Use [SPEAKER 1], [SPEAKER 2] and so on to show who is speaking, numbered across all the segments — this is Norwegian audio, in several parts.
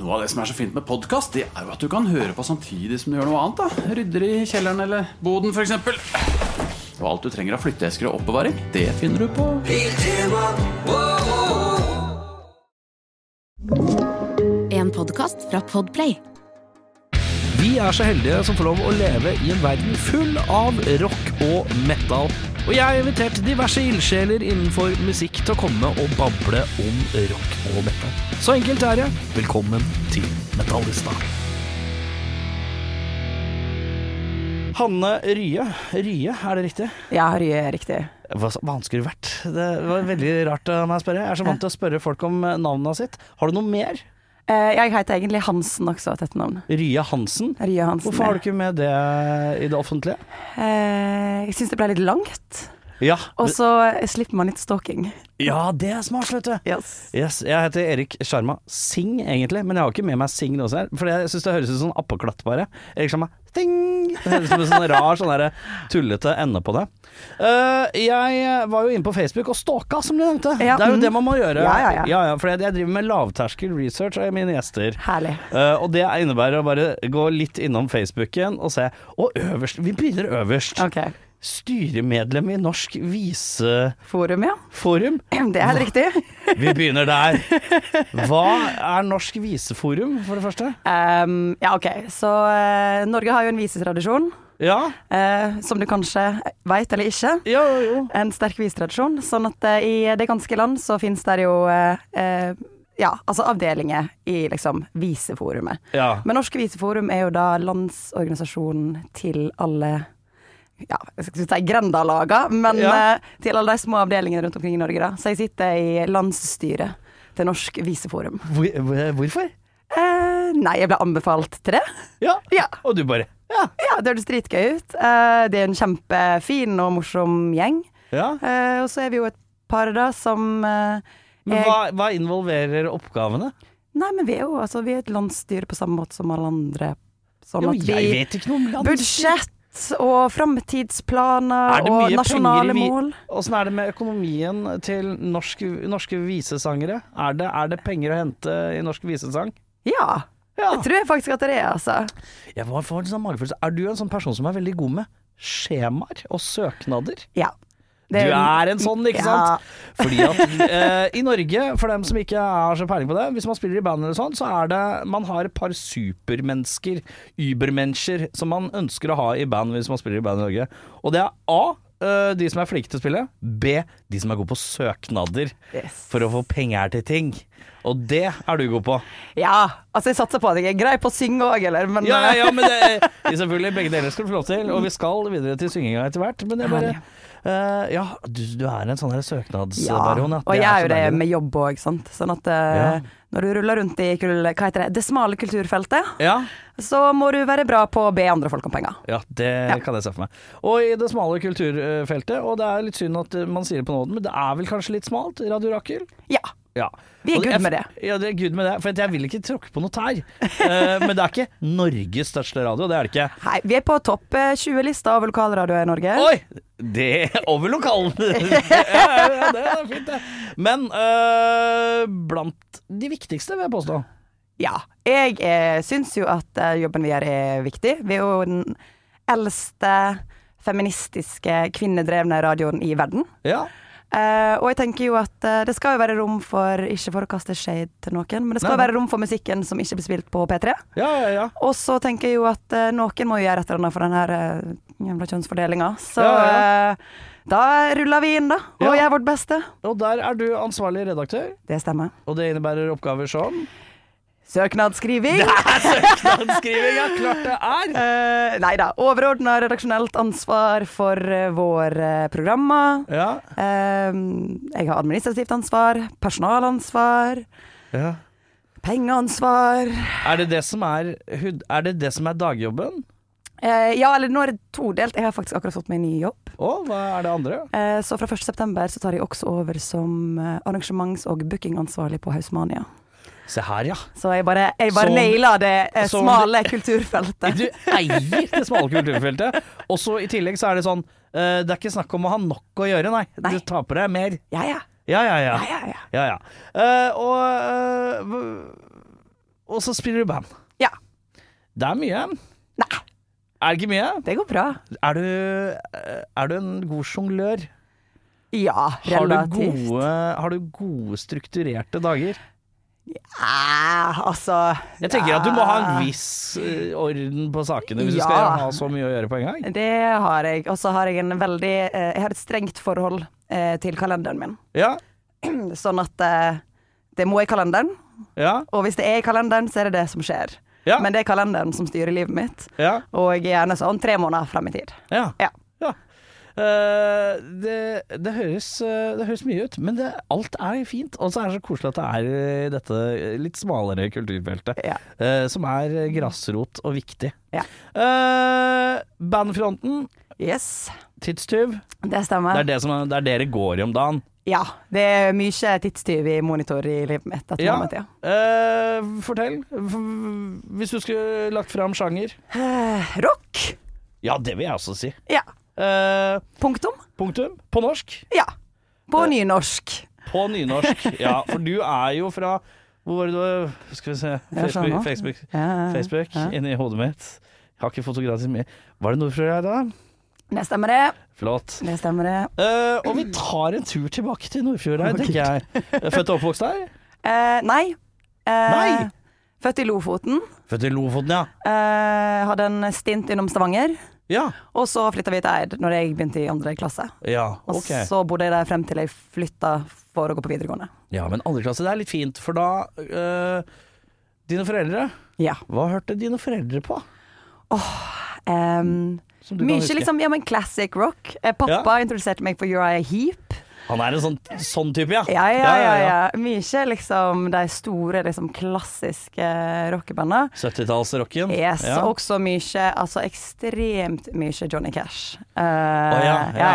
[SPEAKER 1] Noe av det som er så fint med podkast, det er jo at du kan høre på samtidig som du gjør noe annet. da Rydder i kjelleren eller boden, f.eks. Og alt du trenger av flytteesker og oppbevaring, det finner du på
[SPEAKER 2] En podcast fra Podplay
[SPEAKER 3] Vi er så heldige som får lov å leve i en verden full av rock og metal. Og jeg har invitert diverse ildsjeler innenfor musikk til å komme og bable om rock og metal. Så enkelt er det. Velkommen til Metallista. Hanne Rye. Rye, er det riktig?
[SPEAKER 4] Ja, Rye er riktig.
[SPEAKER 3] Hva hva annet skulle det vært? Det var veldig rart av meg å spørre. Jeg er så vant til å spørre folk om eh, navnet sitt. Har du noe mer?
[SPEAKER 4] Eh, jeg heter egentlig Hansen også, til etternavn.
[SPEAKER 3] Rye Hansen?
[SPEAKER 4] Rye Hansen.
[SPEAKER 3] Hvorfor har du ikke med det i det offentlige?
[SPEAKER 4] Eh, jeg syns det ble litt langt.
[SPEAKER 3] Ja,
[SPEAKER 4] Og så slipper man litt stalking.
[SPEAKER 3] Ja, det er smart, vet du.
[SPEAKER 4] Yes.
[SPEAKER 3] Yes, jeg heter Erik Sjarma Singh, egentlig, men jeg har ikke med meg Singh nå, ser jeg, for jeg syns det høres ut som appeklatt, bare. Erik Sjarma Sing! Det høres ut som en sånn rar, sånn der tullete ende på det. Eh, jeg var jo inne på Facebook og stalka, som du nevnte.
[SPEAKER 4] Ja,
[SPEAKER 3] Det er jo
[SPEAKER 4] mm.
[SPEAKER 3] det man må gjøre.
[SPEAKER 4] Ja, ja, ja.
[SPEAKER 3] for jeg, jeg driver med lavterskel research av mine gjester.
[SPEAKER 4] Herlig.
[SPEAKER 3] Eh, og det innebærer å bare gå litt innom Facebooken og se. Og øverst Vi begynner øverst.
[SPEAKER 4] Ok.
[SPEAKER 3] Styremedlem i Norsk viseforum.
[SPEAKER 4] Forum, ja. Det er helt riktig.
[SPEAKER 3] Vi begynner der. Hva er Norsk viseforum, for det første?
[SPEAKER 4] Ehm, ja, OK. Så eh, Norge har jo en visetradisjon,
[SPEAKER 3] Ja,
[SPEAKER 4] eh, som du kanskje veit eller ikke.
[SPEAKER 3] jo, jo.
[SPEAKER 4] En sterk visetradisjon. Sånn at eh, i det ganske land så finnes det jo eh, eh, ja, altså avdelinger i liksom viseforumet.
[SPEAKER 3] Ja.
[SPEAKER 4] Men Norske Viseforum er jo da landsorganisasjonen til alle ja, jeg skal ikke si grendalaga, men
[SPEAKER 3] Ja.
[SPEAKER 4] eh, til alle de små avdelingene rundt omkring i Norge, da. Så jeg sitter i landsstyret til Norsk Viseforum.
[SPEAKER 3] Hvor, hvor- hvorfor?
[SPEAKER 4] Eh, nei, jeg ble anbefalt til det.
[SPEAKER 3] Ja.
[SPEAKER 4] Ja.
[SPEAKER 3] Og du bare Ja.
[SPEAKER 4] Ja, det høres dritgøy ut. Eh, det er en kjempefin og morsom gjeng.
[SPEAKER 3] ja.
[SPEAKER 4] Eh, og så er vi jo et par da som eh,
[SPEAKER 3] Men
[SPEAKER 4] er-
[SPEAKER 3] hva, hva involverer oppgavene?
[SPEAKER 4] Nei, men vi er jo altså, vi er et landsstyre på samme måte som alle andre. Sånn
[SPEAKER 3] Jo,
[SPEAKER 4] at vi
[SPEAKER 3] jeg vet ikke noe om land.
[SPEAKER 4] Budsjett og
[SPEAKER 3] Er
[SPEAKER 4] framtidsplaner
[SPEAKER 3] det
[SPEAKER 4] og
[SPEAKER 3] mye
[SPEAKER 4] nasjonale
[SPEAKER 3] penger i vi-
[SPEAKER 4] mål.
[SPEAKER 3] Åssen er det med økonomien til norske, norske visesangere? Er det, er det penger å hente i norsk visesang?
[SPEAKER 4] Ja,
[SPEAKER 3] Ja.
[SPEAKER 4] det tror jeg faktisk at det er, altså.
[SPEAKER 3] Jeg var- får en sånn magefølelse. Er du en sånn person som er veldig god med skjemaer og søknader?
[SPEAKER 4] Ja.
[SPEAKER 3] Du er en sånn, ikke
[SPEAKER 4] Ja.
[SPEAKER 3] sant? Fordi at eh, i Norge, for dem som ikke har så peiling på det, hvis man spiller i band eller sånn, så er det Man har et par supermennesker, übermennesker, som man ønsker å ha i band hvis man spiller i band i Norge. Og det er A. eh, De som er flinke til å spille. B. De som er gode på søknader
[SPEAKER 4] Yes.
[SPEAKER 3] for å få penger til ting. Og det er du god på.
[SPEAKER 4] Ja, altså jeg satser på at jeg er grei på å synge òg, eller, men eh,
[SPEAKER 3] Ja, ja, ja, men det, vi selvfølgelig begge deler skal du få lov til, og vi skal videre til synginga etter hvert. Men jeg bare eh, Ja, du, du er en sånn her
[SPEAKER 4] Ja,
[SPEAKER 3] søknadsbaron. at
[SPEAKER 4] og jeg
[SPEAKER 3] så
[SPEAKER 4] er jo det
[SPEAKER 3] deilig.
[SPEAKER 4] med jobb òg, sant. Sånn at eh,
[SPEAKER 3] Ja.
[SPEAKER 4] når du ruller rundt i kul, hva heter det, det smale kulturfeltet,
[SPEAKER 3] Ja,
[SPEAKER 4] så må du være bra på å be andre folk om penger.
[SPEAKER 3] ja det kan jeg se for meg. Og i det smale kulturfeltet, og det er litt synd at eh, man sier det på nåden, men det er vel kanskje litt smalt, Radio Rakel?
[SPEAKER 4] Ja.
[SPEAKER 3] Ja.
[SPEAKER 4] Vi er
[SPEAKER 3] Og
[SPEAKER 4] good
[SPEAKER 3] jeg-
[SPEAKER 4] med det.
[SPEAKER 3] Ja, det er good med det, for jeg vil ikke tråkke på noe tær. Eh, men det er ikke Norges største radio, det er det ikke.
[SPEAKER 4] Hei, vi er på topp eh, 20-lista over lokalradioer i Norge.
[SPEAKER 3] Oi! Det over lokalen. ja, ja, det er fint, det. Men eh, blant de viktigste, vil jeg påstå.
[SPEAKER 4] Ja. Jeg eh, syns jo at eh, jobben vi gjør er viktig. Vi er jo den eldste feministiske kvinnedrevne radioen i verden.
[SPEAKER 3] Ja.
[SPEAKER 4] Eh, og jeg tenker jo at eh, det skal jo være rom for, ikke for å kaste shade til noen, men det skal
[SPEAKER 3] Nei, nei.
[SPEAKER 4] være rom for musikken som ikke blir spilt på P3.
[SPEAKER 3] ja, ja, ja.
[SPEAKER 4] Og så tenker jeg jo at eh, noen må jo gjøre et eller annet for den her eh, jævla kjønnsfordelinga. Så
[SPEAKER 3] Ja,
[SPEAKER 4] eh, da ruller vi inn, da, og
[SPEAKER 3] Ja.
[SPEAKER 4] gjør vårt beste.
[SPEAKER 3] Og der er du ansvarlig redaktør,
[SPEAKER 4] Det stemmer.
[SPEAKER 3] og det innebærer oppgaver som
[SPEAKER 4] Søknadsskriving.
[SPEAKER 3] Søknadsskriving, ja, klart det er!
[SPEAKER 4] Uh, nei da. Overordna redaksjonelt ansvar for eh, vår eh, programmer.
[SPEAKER 3] Ja.
[SPEAKER 4] Eh, jeg har administrativt ansvar, personalansvar, pengeansvar.
[SPEAKER 3] Er det det som er, hud- er, det det som er dagjobben?
[SPEAKER 4] Eh, ja, eller nå er det todelt. Jeg har faktisk akkurat fått meg en ny jobb.
[SPEAKER 3] Og hva er det andre?
[SPEAKER 4] Eh, så fra 1.9. så tar jeg også over som eh, arrangements- og bookingansvarlig på Hausmania.
[SPEAKER 3] Se her, ja.
[SPEAKER 4] Så jeg bare, jeg bare
[SPEAKER 3] Som-
[SPEAKER 4] naila det eh,
[SPEAKER 3] som-
[SPEAKER 4] smale kulturfeltet.
[SPEAKER 3] Du eier det smale kulturfeltet, og så i tillegg så er det sånn eh, Det er ikke snakk om å ha nok å gjøre, nei.
[SPEAKER 4] Nei.
[SPEAKER 3] Du tar på deg mer.
[SPEAKER 4] Ja, ja.
[SPEAKER 3] Ja, ja, ja.
[SPEAKER 4] ja, ja, ja.
[SPEAKER 3] ja, ja. Eh, og eh, hva- og så spiller du band.
[SPEAKER 4] Ja.
[SPEAKER 3] Det er mye.
[SPEAKER 4] Nei,
[SPEAKER 3] Er det ikke mye?
[SPEAKER 4] det går bra.
[SPEAKER 3] Er du, eh, er du en god sjonglør?
[SPEAKER 4] Ja,
[SPEAKER 3] Har du,
[SPEAKER 4] relativt.
[SPEAKER 3] gode, har du gode, strukturerte dager?
[SPEAKER 4] Eh, altså
[SPEAKER 3] Jeg tenker at du må ha en
[SPEAKER 4] ja,
[SPEAKER 3] viss eh, orden på sakene hvis du
[SPEAKER 4] Ja.
[SPEAKER 3] skal ha så mye å gjøre på en gang.
[SPEAKER 4] Det har jeg. Og så har jeg en veldig eh, Jeg har et strengt forhold eh, til kalenderen min.
[SPEAKER 3] Ja,
[SPEAKER 4] Sånn at eh, det må i kalenderen.
[SPEAKER 3] ja,
[SPEAKER 4] Og hvis det er i kalenderen, så er det det som skjer.
[SPEAKER 3] ja.
[SPEAKER 4] Men det er kalenderen som styrer livet mitt.
[SPEAKER 3] ja,
[SPEAKER 4] Og jeg er gjerne sånn tre måneder frem i tid.
[SPEAKER 3] ja.
[SPEAKER 4] Ja.
[SPEAKER 3] ja. Eh, det, det, høres, eh, det høres mye ut, men det, alt er fint. Og så er det så koselig at det er eh, dette litt smalere kulturfeltet,
[SPEAKER 4] Ja.
[SPEAKER 3] eh, som er eh, grasrot og viktig.
[SPEAKER 4] Ja.
[SPEAKER 3] Eh, bandfronten,
[SPEAKER 4] Yes,
[SPEAKER 3] tidstyv,
[SPEAKER 4] det
[SPEAKER 3] det
[SPEAKER 4] stemmer.
[SPEAKER 3] er det, som, det er det dere går i om dagen.
[SPEAKER 4] Ja. Det er mye tidstyv i monitor i livet mitt. At
[SPEAKER 3] Ja.
[SPEAKER 4] ja. Tida.
[SPEAKER 3] Eh, fortell. F- Hvis du skulle lagt fram sjanger
[SPEAKER 4] Eh, rock.
[SPEAKER 3] Ja, det vil jeg også si.
[SPEAKER 4] Ja.
[SPEAKER 3] Eh,
[SPEAKER 4] Punktum.
[SPEAKER 3] punktum. På norsk.
[SPEAKER 4] Ja. På nynorsk.
[SPEAKER 3] På nynorsk. Ja, for du er jo fra Hvor var det du var? Skal vi se Facebook,
[SPEAKER 4] skjønner.
[SPEAKER 3] Facebook,
[SPEAKER 4] Ja,
[SPEAKER 3] Facebook
[SPEAKER 4] ja.
[SPEAKER 3] inni hodet mitt. Jeg har ikke fotografert mye. Var det noe fra deg da?
[SPEAKER 4] Det stemmer det.
[SPEAKER 3] Flott.
[SPEAKER 4] Det stemmer det.
[SPEAKER 3] Eh, og vi tar en tur tilbake til Nordfjord her, tenker jeg. Født og oppvokst her?
[SPEAKER 4] Eh, nei. Eh,
[SPEAKER 3] Nei.
[SPEAKER 4] Født i Lofoten.
[SPEAKER 3] Født i Lofoten, ja.
[SPEAKER 4] Eh, hadde en stint innom Stavanger.
[SPEAKER 3] Ja.
[SPEAKER 4] Og så flytta vi til Eid når jeg begynte i andre klasse.
[SPEAKER 3] ja
[SPEAKER 4] Og
[SPEAKER 3] ok.
[SPEAKER 4] så bodde jeg der frem til jeg flytta for å gå på videregående.
[SPEAKER 3] Ja, men andre klasse, det er litt fint, for da eh, Dine foreldre,
[SPEAKER 4] Ja.
[SPEAKER 3] hva hørte dine foreldre på?
[SPEAKER 4] Um,
[SPEAKER 3] Som du kan
[SPEAKER 4] mye
[SPEAKER 3] huske?
[SPEAKER 4] liksom, ja, men classic rock. Eh, pappa introduserte meg for Uriah Heap.
[SPEAKER 3] Han er en sånn, sånn type, ja.
[SPEAKER 4] Ja, ja, ja. ja. Mye liksom de store, liksom klassiske rockebanda.
[SPEAKER 3] 70-tallsrocken.
[SPEAKER 4] Yes,
[SPEAKER 3] ja.
[SPEAKER 4] også mye, altså ekstremt mye Johnny Cash. Eh,
[SPEAKER 3] ja, ja.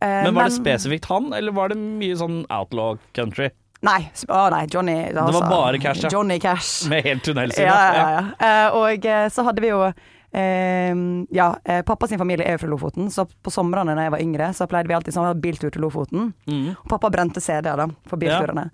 [SPEAKER 4] Eh,
[SPEAKER 3] Men var det spesifikt han, eller var det mye sånn outlaw country?
[SPEAKER 4] Nei, sp- å nei, Johnny altså,
[SPEAKER 3] bare Cash, ja.
[SPEAKER 4] Johnny Cash.
[SPEAKER 3] Med helt tunnelsyn?
[SPEAKER 4] Ja, ja, ja. Eh, og eh, så hadde vi jo eh, ja, eh, pappa sin familie er jo fra Lofoten, så på somrene da jeg var yngre, så pleide vi alltid sånn, å ha biltur til Lofoten. Og pappa brente CD-er da, for
[SPEAKER 3] Mm. Ja.
[SPEAKER 4] bilturene.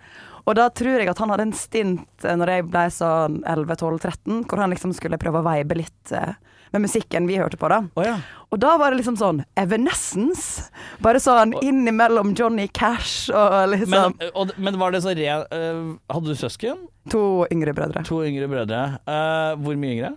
[SPEAKER 4] Og da tror jeg at han hadde en stint eh, når jeg ble sånn 11-12-13, hvor han liksom skulle prøve å veibe litt eh, med musikken vi hørte på da.
[SPEAKER 3] Å, ja.
[SPEAKER 4] Og da var det liksom sånn Evanescence. Bare sånn innimellom Johnny Cash og liksom
[SPEAKER 3] Men, eh, og, men var det så re... eh, hadde du søsken?
[SPEAKER 4] To yngre brødre.
[SPEAKER 3] To yngre brødre. Eh, hvor mye yngre?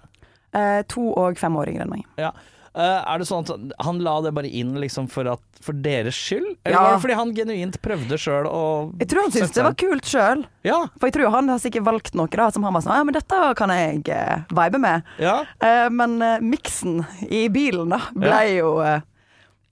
[SPEAKER 4] Eh, to og fem år yngre enn meg.
[SPEAKER 3] Ja. Eh, er det sånn at han la det bare inn liksom for, at, for deres skyld? Eller
[SPEAKER 4] Ja.
[SPEAKER 3] var det fordi han genuint prøvde sjøl å
[SPEAKER 4] Jeg tror han syntes det var kult sjøl.
[SPEAKER 3] Ja,
[SPEAKER 4] For jeg tror han har sikkert valgt noe da, som han var sånn Ja, men dette kan jeg eh, vibe med.
[SPEAKER 3] ja.
[SPEAKER 4] Eh, men eh, miksen i bilen da ble
[SPEAKER 3] Ja.
[SPEAKER 4] jo eh,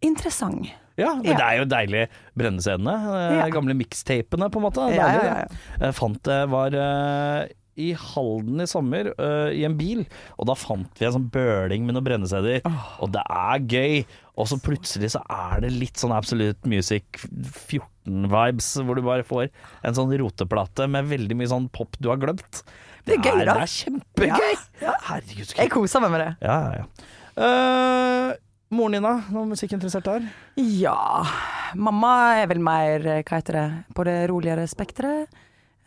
[SPEAKER 4] interessant.
[SPEAKER 3] Ja, men
[SPEAKER 4] Ja.
[SPEAKER 3] det er jo deilig. Brennescenene. eh,
[SPEAKER 4] Ja.
[SPEAKER 3] gamle mikstapene, på en måte. Deilig,
[SPEAKER 4] Ja, ja,
[SPEAKER 3] det. Jeg fant det var eh, i Halden i sommer, eh, i en bil, og da fant vi en sånn bøling med noen brenneseder. Og det er gøy. Og så plutselig så er det litt sånn Absolute Music 14-vibes, hvor du bare får en sånn roteplate med veldig mye sånn pop du har glemt.
[SPEAKER 4] Det er gøy, da.
[SPEAKER 3] Det er kjempegøy! Herregud, så
[SPEAKER 4] Jeg
[SPEAKER 3] gøy.
[SPEAKER 4] koser meg med det.
[SPEAKER 3] Ja, ja, ja. Eh, moren din, da? Noe musikkinteressert der?
[SPEAKER 4] Ja Mamma er vel mer, eh, hva heter det, på det roligere spekteret.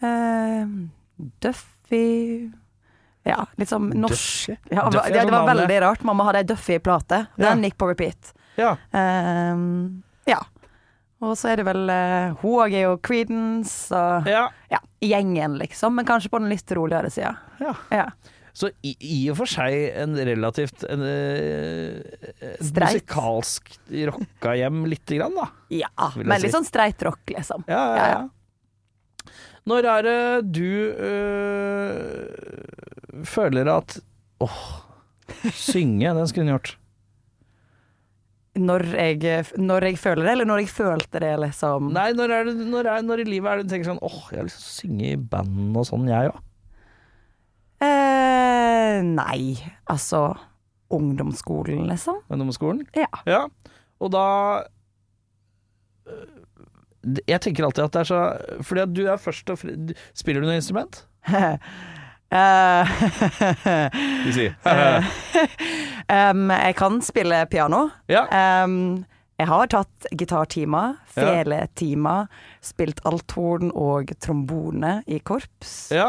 [SPEAKER 4] Eh, Duffy Ja, litt sånn norsk.
[SPEAKER 3] Duffy?
[SPEAKER 4] Ja,
[SPEAKER 3] Duffy er
[SPEAKER 4] det, det var
[SPEAKER 3] sånn navn,
[SPEAKER 4] veldig rart. Mamma hadde ei Duffy-plate.
[SPEAKER 3] Ja.
[SPEAKER 4] Den gikk på repeat.
[SPEAKER 3] Ja.
[SPEAKER 4] Ehm, ja. Og så er det vel eh, Hun òg er jo Creedence og
[SPEAKER 3] ja.
[SPEAKER 4] ja, gjengen, liksom. Men kanskje på den litt roligere sida.
[SPEAKER 3] Ja.
[SPEAKER 4] Ja.
[SPEAKER 3] Så i, i og for seg en relativt en, eh, et
[SPEAKER 4] Streit.
[SPEAKER 3] musikalsk rocka hjem lite grann, da.
[SPEAKER 4] ja.
[SPEAKER 3] Vil jeg
[SPEAKER 4] Men
[SPEAKER 3] si.
[SPEAKER 4] litt sånn streit rock, liksom.
[SPEAKER 3] Ja, ja,
[SPEAKER 4] Ja,
[SPEAKER 3] ja. Når er det du eh, føler at Åh, synge, den skulle hun gjort.
[SPEAKER 4] Når jeg, når jeg føler det, eller når jeg følte det, liksom.
[SPEAKER 3] Nei, når, er det, når, er, når i livet er det du tenker sånn åh, jeg har lyst til å synge i band og sånn, jeg òg.
[SPEAKER 4] Eh, nei, altså Ungdomsskolen, liksom.
[SPEAKER 3] Ungdomsskolen.
[SPEAKER 4] Ja.
[SPEAKER 3] Ja, og da øh, Jeg tenker alltid at det er så Fordi at du er først og fre... du- Spiller du noe instrument?
[SPEAKER 4] Eh,
[SPEAKER 3] De sier
[SPEAKER 4] em, jeg kan spille piano.
[SPEAKER 3] Ja.
[SPEAKER 4] Em, jeg har tatt gitartimer,
[SPEAKER 3] Ja.
[SPEAKER 4] feletimer, spilt althorn og trombone i korps.
[SPEAKER 3] ja.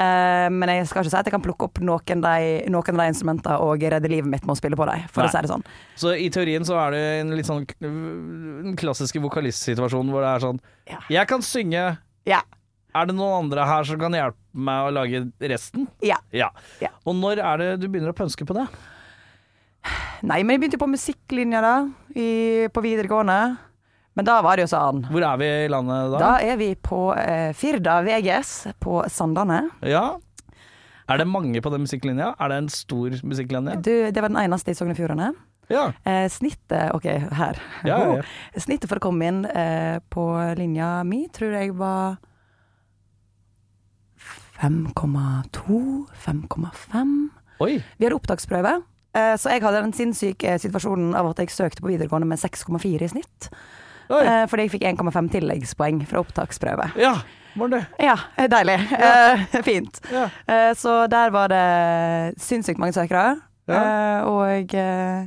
[SPEAKER 4] Eh, men jeg skal ikke si at jeg kan plukke opp noen, de, noen av de instrumentene og redde livet mitt med å spille på dem, for
[SPEAKER 3] Nei.
[SPEAKER 4] å si det sånn.
[SPEAKER 3] Så i teorien så er det en litt sånn k- den klassiske vokalistsituasjonen hvor det er sånn
[SPEAKER 4] Ja.
[SPEAKER 3] Jeg kan synge,
[SPEAKER 4] Ja.
[SPEAKER 3] er det noen andre her som kan hjelpe meg å lage resten?
[SPEAKER 4] ja.
[SPEAKER 3] Ja.
[SPEAKER 4] Ja.
[SPEAKER 3] Og når er det du begynner å pønske på det?
[SPEAKER 4] Nei, men jeg begynte jo på musikklinja da, i, på videregående. Men da var det jo sånn.
[SPEAKER 3] Hvor er vi i landet da?
[SPEAKER 4] Da er vi på eh, Firda VGS på Sandane.
[SPEAKER 3] Ja. Er det mange på den musikklinja? Er det en stor musikklinje?
[SPEAKER 4] Du, det var den eneste i Sogn og Fjordane.
[SPEAKER 3] Ja.
[SPEAKER 4] Eh, snittet OK, her.
[SPEAKER 3] Ja, ja, ja.
[SPEAKER 4] Snittet for å komme inn eh, på linja mi tror jeg var 5,2, 5,5.
[SPEAKER 3] Oi.
[SPEAKER 4] Vi hadde opptaksprøve, eh, så jeg hadde den sinnssyke situasjonen av at jeg søkte på videregående med 6,4 i snitt.
[SPEAKER 3] Oi.
[SPEAKER 4] Eh, fordi jeg fikk 1,5 tilleggspoeng fra opptaksprøve.
[SPEAKER 3] Ja, var det.
[SPEAKER 4] Ja, deilig. Eh, fint.
[SPEAKER 3] Ja.
[SPEAKER 4] Eh, så der var det sinnssykt mange søkere.
[SPEAKER 3] Ja.
[SPEAKER 4] Eh, og eh,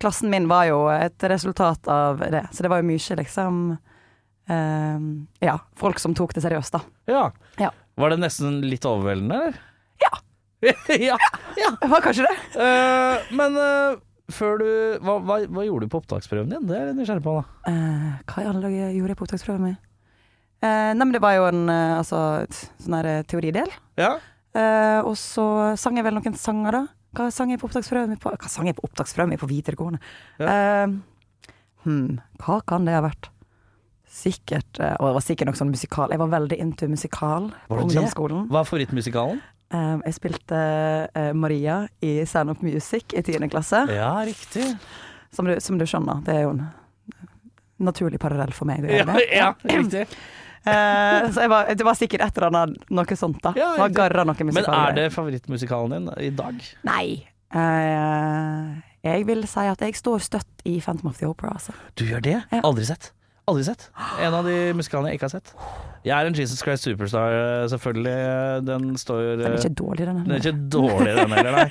[SPEAKER 4] klassen min var jo et resultat av det. Så det var jo mye, liksom eh, Ja, folk som tok det seriøst, da.
[SPEAKER 3] ja.
[SPEAKER 4] Ja.
[SPEAKER 3] Var det nesten litt overveldende, eller?
[SPEAKER 4] Ja,
[SPEAKER 3] ja. ja.
[SPEAKER 4] det var kanskje det.
[SPEAKER 3] Eh, men eh, før du hva, hva, hva gjorde du på opptaksprøven din? Det er jeg litt nysgjerrig på. da
[SPEAKER 4] Eh, hva i alle dager gjorde jeg på opptaksprøven min? Eh, nei, men det var jo en eh, altså, t- sånn her eh, teoridel.
[SPEAKER 3] Ja.
[SPEAKER 4] Eh, og så sang jeg vel noen sanger, da. Hva sang jeg på opptaksprøven min på? Hva sang jeg på opptaksprøven min på videregående? Eh, hm, hva kan det ha vært? Sikkert eh, Og det var sikkert noe sånn musikal. Jeg var veldig into musikal på
[SPEAKER 3] Var du det?
[SPEAKER 4] ungdomsskolen.
[SPEAKER 3] Hva er favorittmusikalen?
[SPEAKER 4] Eh, jeg spilte eh, Maria i Stand Up Music i tiende klasse.
[SPEAKER 3] Ja, riktig.
[SPEAKER 4] Som, du, som du skjønner, det er jo en eh, naturlig parallell for meg. det er det.
[SPEAKER 3] Ja, ja, riktig.
[SPEAKER 4] Eh, så jeg var, det var sikkert et eller annet noe sånt, da.
[SPEAKER 3] Ja,
[SPEAKER 4] Det var garra noe
[SPEAKER 3] Men
[SPEAKER 4] musikal. eh.
[SPEAKER 3] er det favorittmusikalen din i dag?
[SPEAKER 4] Nei. Eh, jeg vil si at jeg står støtt i Phantom of the Opera, altså.
[SPEAKER 3] Du gjør det?
[SPEAKER 4] Ja.
[SPEAKER 3] Aldri sett. Aldri sett. En av de musikalene jeg ikke har sett. Jeg er en Jesus Christ Superstar, eh, selvfølgelig. Den står
[SPEAKER 4] Den er
[SPEAKER 3] eh,
[SPEAKER 4] ikke dårlig, den
[SPEAKER 3] Den er
[SPEAKER 4] heller.
[SPEAKER 3] ikke dårlig, den heller, nei.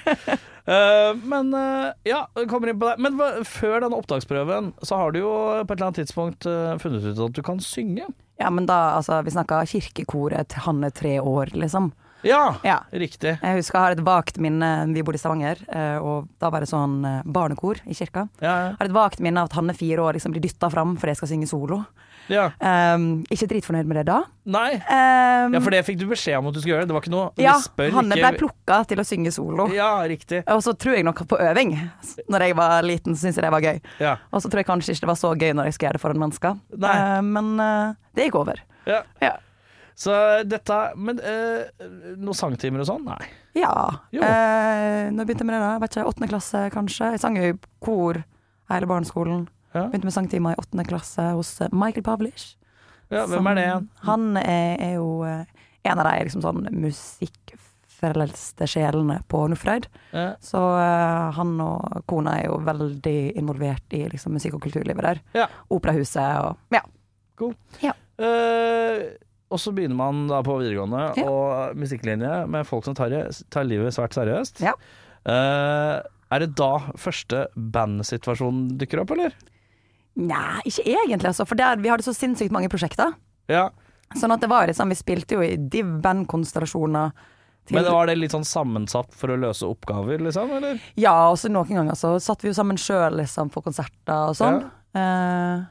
[SPEAKER 3] Eh, men eh, ja, jeg kommer inn på det. Men hva- før denne opptaksprøven, så har du jo på et eller annet tidspunkt eh, funnet ut at du kan synge.
[SPEAKER 4] Ja, men da, altså, vi snakka kirkekoret til han er tre år, liksom.
[SPEAKER 3] Ja,
[SPEAKER 4] Ja.
[SPEAKER 3] riktig.
[SPEAKER 4] Jeg husker jeg har et vagt minne, vi bodde i Stavanger, eh, og da var det sånn eh, barnekor i kirka.
[SPEAKER 3] Ja,
[SPEAKER 4] Jeg har et vagt minne av at han er fire år liksom blir dytta fram fordi jeg skal synge solo.
[SPEAKER 3] ja.
[SPEAKER 4] Um, ikke dritfornøyd med det da.
[SPEAKER 3] Nei.
[SPEAKER 4] Um,
[SPEAKER 3] Ja, for det fikk du beskjed om at du skulle gjøre. Det var ikke noe
[SPEAKER 4] ja,
[SPEAKER 3] Vi spør
[SPEAKER 4] han
[SPEAKER 3] ikke
[SPEAKER 4] ble plukka til å synge solo.
[SPEAKER 3] Ja, riktig.
[SPEAKER 4] Og så tror jeg nok på øving. Når jeg var liten, syntes jeg det var gøy.
[SPEAKER 3] Ja.
[SPEAKER 4] Og så tror jeg kanskje ikke det var så gøy når jeg skulle gjøre det foran mennesker.
[SPEAKER 3] Nei.
[SPEAKER 4] Eh, men eh, det gikk over.
[SPEAKER 3] ja.
[SPEAKER 4] Ja.
[SPEAKER 3] Så dette Men eh, noen sangtimer og sånn? Nei.
[SPEAKER 4] ja.
[SPEAKER 3] Jo.
[SPEAKER 4] Eh, når jeg begynte jeg med det, da? Jeg vet ikke, Åttende klasse, kanskje? Jeg sang jo i kor hele barneskolen.
[SPEAKER 3] Ja.
[SPEAKER 4] Begynte med sangtimer i åttende klasse hos eh, Michael Pavlish.
[SPEAKER 3] Ja, hvem er det igjen?
[SPEAKER 4] Han er, er jo eh, en av de liksom, sånn musikkfrelste sjelene på Nordfrøyd.
[SPEAKER 3] Ja.
[SPEAKER 4] Så eh, han og kona er jo veldig involvert i liksom, musikk- og kulturlivet der.
[SPEAKER 3] Ja.
[SPEAKER 4] Operahuset og Ja.
[SPEAKER 3] Eh, og så begynner man da på videregående
[SPEAKER 4] Ja.
[SPEAKER 3] og musikklinje med folk som tar, tar livet svært seriøst.
[SPEAKER 4] Ja.
[SPEAKER 3] Eh, er det da første bandsituasjonen dukker opp, eller?
[SPEAKER 4] Nei, ikke egentlig, altså. For der, vi hadde så sinnssykt mange prosjekter.
[SPEAKER 3] Ja.
[SPEAKER 4] Sånn at det var liksom, Vi spilte jo i div-band-konstellasjoner. til-
[SPEAKER 3] Men var det litt sånn sammensatt for å løse oppgaver, liksom? Eller?
[SPEAKER 4] Ja, og så noen ganger så satt vi jo sammen sjøl liksom, på konserter og sånn. Eh,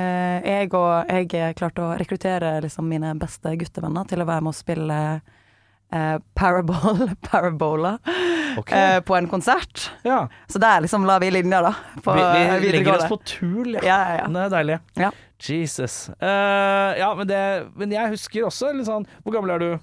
[SPEAKER 4] eh, jeg og jeg eh, klarte å rekruttere liksom, mine beste guttevenner til å være med og spille eh, Parabol, Parabola
[SPEAKER 3] Ok.
[SPEAKER 4] eh, på en konsert.
[SPEAKER 3] ja.
[SPEAKER 4] Så der liksom la vi linja, da. På
[SPEAKER 3] vi,
[SPEAKER 4] eh,
[SPEAKER 3] vi legger
[SPEAKER 4] videregående.
[SPEAKER 3] oss på tull, ja.
[SPEAKER 4] ja, ja, ja.
[SPEAKER 3] Det er deilig.
[SPEAKER 4] Ja.
[SPEAKER 3] Jesus. Eh, ja, men, det, men jeg husker også litt sånn Hvor gammel er du?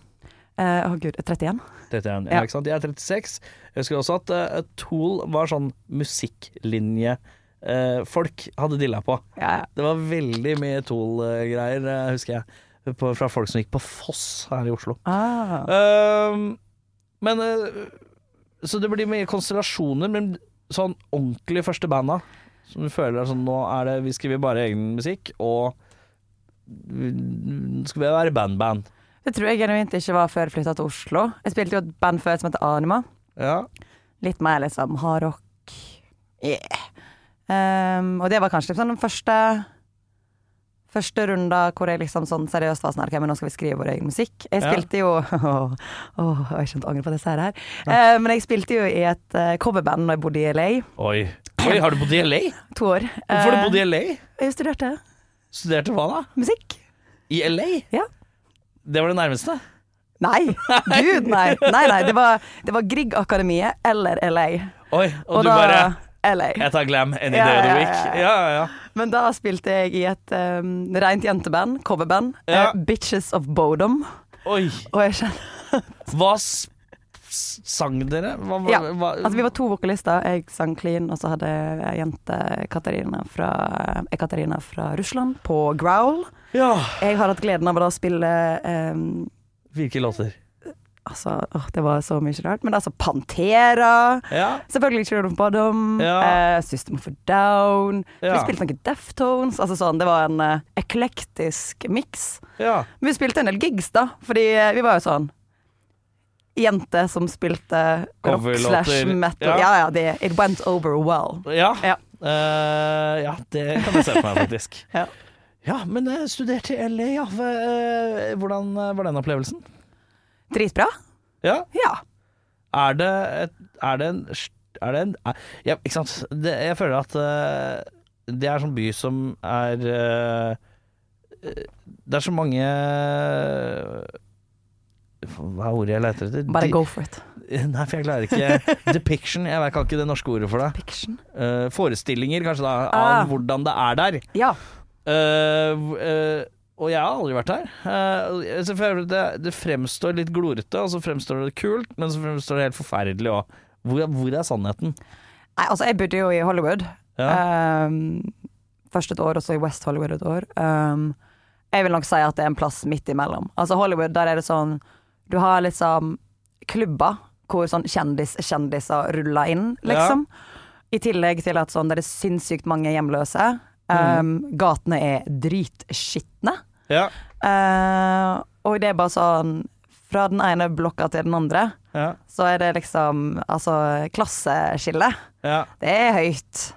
[SPEAKER 4] Eh, Å gud, 31?
[SPEAKER 3] 31, ja.
[SPEAKER 4] Ja.
[SPEAKER 3] ikke sant? Jeg er 36. Jeg husker også at eh, Tool var sånn musikklinje eh, folk hadde dilla på.
[SPEAKER 4] Ja, ja.
[SPEAKER 3] Det var veldig mye Tool-greier, eh, husker jeg, på, fra folk som gikk på Foss her i Oslo.
[SPEAKER 4] Ah.
[SPEAKER 3] Ehm, men eh, Så det blir mye konstellasjoner, men sånn ordentlig første banda som du føler er sånn Nå er det Vi skriver bare egen musikk, og vi- skal vi være band-band.
[SPEAKER 4] Det tror jeg genuint ikke var før jeg flytta til Oslo. Jeg spilte jo et band før som heter Anima.
[SPEAKER 3] Ja.
[SPEAKER 4] Litt mer liksom hardrock. Yeah. Um, og det var kanskje liksom den første Første runda hvor jeg liksom sånn seriøst var sånn Ok, men nå skal vi skrive vår egen musikk. Jeg
[SPEAKER 3] Ja.
[SPEAKER 4] spilte jo Åh, jeg skjønte angre på disse her. Eh, men jeg spilte jo i et eh, coverband når jeg bodde i LA.
[SPEAKER 3] Oi. Oi, har du bodd i LA?
[SPEAKER 4] To år.
[SPEAKER 3] Hvorfor har
[SPEAKER 4] Eh,
[SPEAKER 3] du bodd i LA?
[SPEAKER 4] Jeg studerte
[SPEAKER 3] Studerte hva da?
[SPEAKER 4] musikk.
[SPEAKER 3] I LA?
[SPEAKER 4] Ja.
[SPEAKER 3] Det var det nærmeste.
[SPEAKER 4] Nei! Gud, nei. Nei, nei. Det var, det var Grieg-akademiet eller LA.
[SPEAKER 3] Oi, og, du bare
[SPEAKER 4] LA.
[SPEAKER 3] Jeg tar glam any
[SPEAKER 4] Ja,
[SPEAKER 3] day of the
[SPEAKER 4] ja,
[SPEAKER 3] week.
[SPEAKER 4] ja, ja.
[SPEAKER 3] Ja, ja, ja.
[SPEAKER 4] Men da spilte jeg i et um, rent jenteband, coverband,
[SPEAKER 3] Ja.
[SPEAKER 4] eh, Bitches of Bodom.
[SPEAKER 3] Oi.
[SPEAKER 4] Og jeg kjenner
[SPEAKER 3] Hva s s- sang dere? Hva, hva,
[SPEAKER 4] Ja,
[SPEAKER 3] hva?
[SPEAKER 4] altså vi var to vokalister. Jeg sang clean, og så hadde jeg jente Katarina fra, eh, Katarina fra Russland på growl.
[SPEAKER 3] ja.
[SPEAKER 4] Jeg har hatt gleden av å da spille um,
[SPEAKER 3] Hvilke låter?
[SPEAKER 4] Altså, åh, det var så mye rart. Men altså Pantera.
[SPEAKER 3] Ja.
[SPEAKER 4] Selvfølgelig Children of Bodom.
[SPEAKER 3] Ja.
[SPEAKER 4] eh, System for Down. Vi
[SPEAKER 3] Ja.
[SPEAKER 4] spilte noen Deftones. Altså sånn, det var en eh, eklektisk miks.
[SPEAKER 3] ja.
[SPEAKER 4] Men Vi spilte en del gigs da, fordi vi var jo sånn Jente som spilte rock
[SPEAKER 3] Coverlåter.
[SPEAKER 4] slash metal.
[SPEAKER 3] Ja.
[SPEAKER 4] Ja, ja, det, it went over well.
[SPEAKER 3] Ja.
[SPEAKER 4] Ja.
[SPEAKER 3] Eh, ja, det kan jeg se for meg, faktisk.
[SPEAKER 4] Ja.
[SPEAKER 3] Ja, men jeg studerte i LA, ja. Hva, eh, Hvordan eh, var den opplevelsen?
[SPEAKER 4] Dritbra.
[SPEAKER 3] Ja.
[SPEAKER 4] Ja.
[SPEAKER 3] Er det, et, er det en st- er det en, er, ja, Ikke sant. Det, jeg føler at eh, det er sånn by som er eh, eh, Det er så mange Hva er ordet jeg leter etter?
[SPEAKER 4] Bare
[SPEAKER 3] Di-
[SPEAKER 4] go for it.
[SPEAKER 3] Nei, for jeg klarer ikke Depiction. Jeg kan ikke det norske ordet for det.
[SPEAKER 4] Fiction.
[SPEAKER 3] Eh, forestillinger, kanskje, da,
[SPEAKER 4] Ah.
[SPEAKER 3] av hvordan det er der.
[SPEAKER 4] Ja.
[SPEAKER 3] Eh, v- eh, og jeg har aldri vært her. Eh, så for jeg- det, det fremstår litt glorete, og så fremstår det kult, men så fremstår det helt forferdelig òg. Hvor, er- hvor er sannheten?
[SPEAKER 4] Nei, altså, jeg bodde jo i Hollywood.
[SPEAKER 3] Ja.
[SPEAKER 4] Um, først et år, og så i West Hollywood et år. Um, jeg vil nok si at det er en plass midt imellom. Altså Hollywood, der er det sånn Du har liksom klubber hvor sånn kjendis-kjendiser ruller inn, liksom. I tillegg til at sånn, det er sinnssykt mange hjemløse. Um, Gatene er dritskitne.
[SPEAKER 3] ja.
[SPEAKER 4] Uh, og det er bare sånn Fra den ene blokka til den andre,
[SPEAKER 3] ja,
[SPEAKER 4] så er det liksom Altså, klasseskille.
[SPEAKER 3] ja.
[SPEAKER 4] Det er høyt.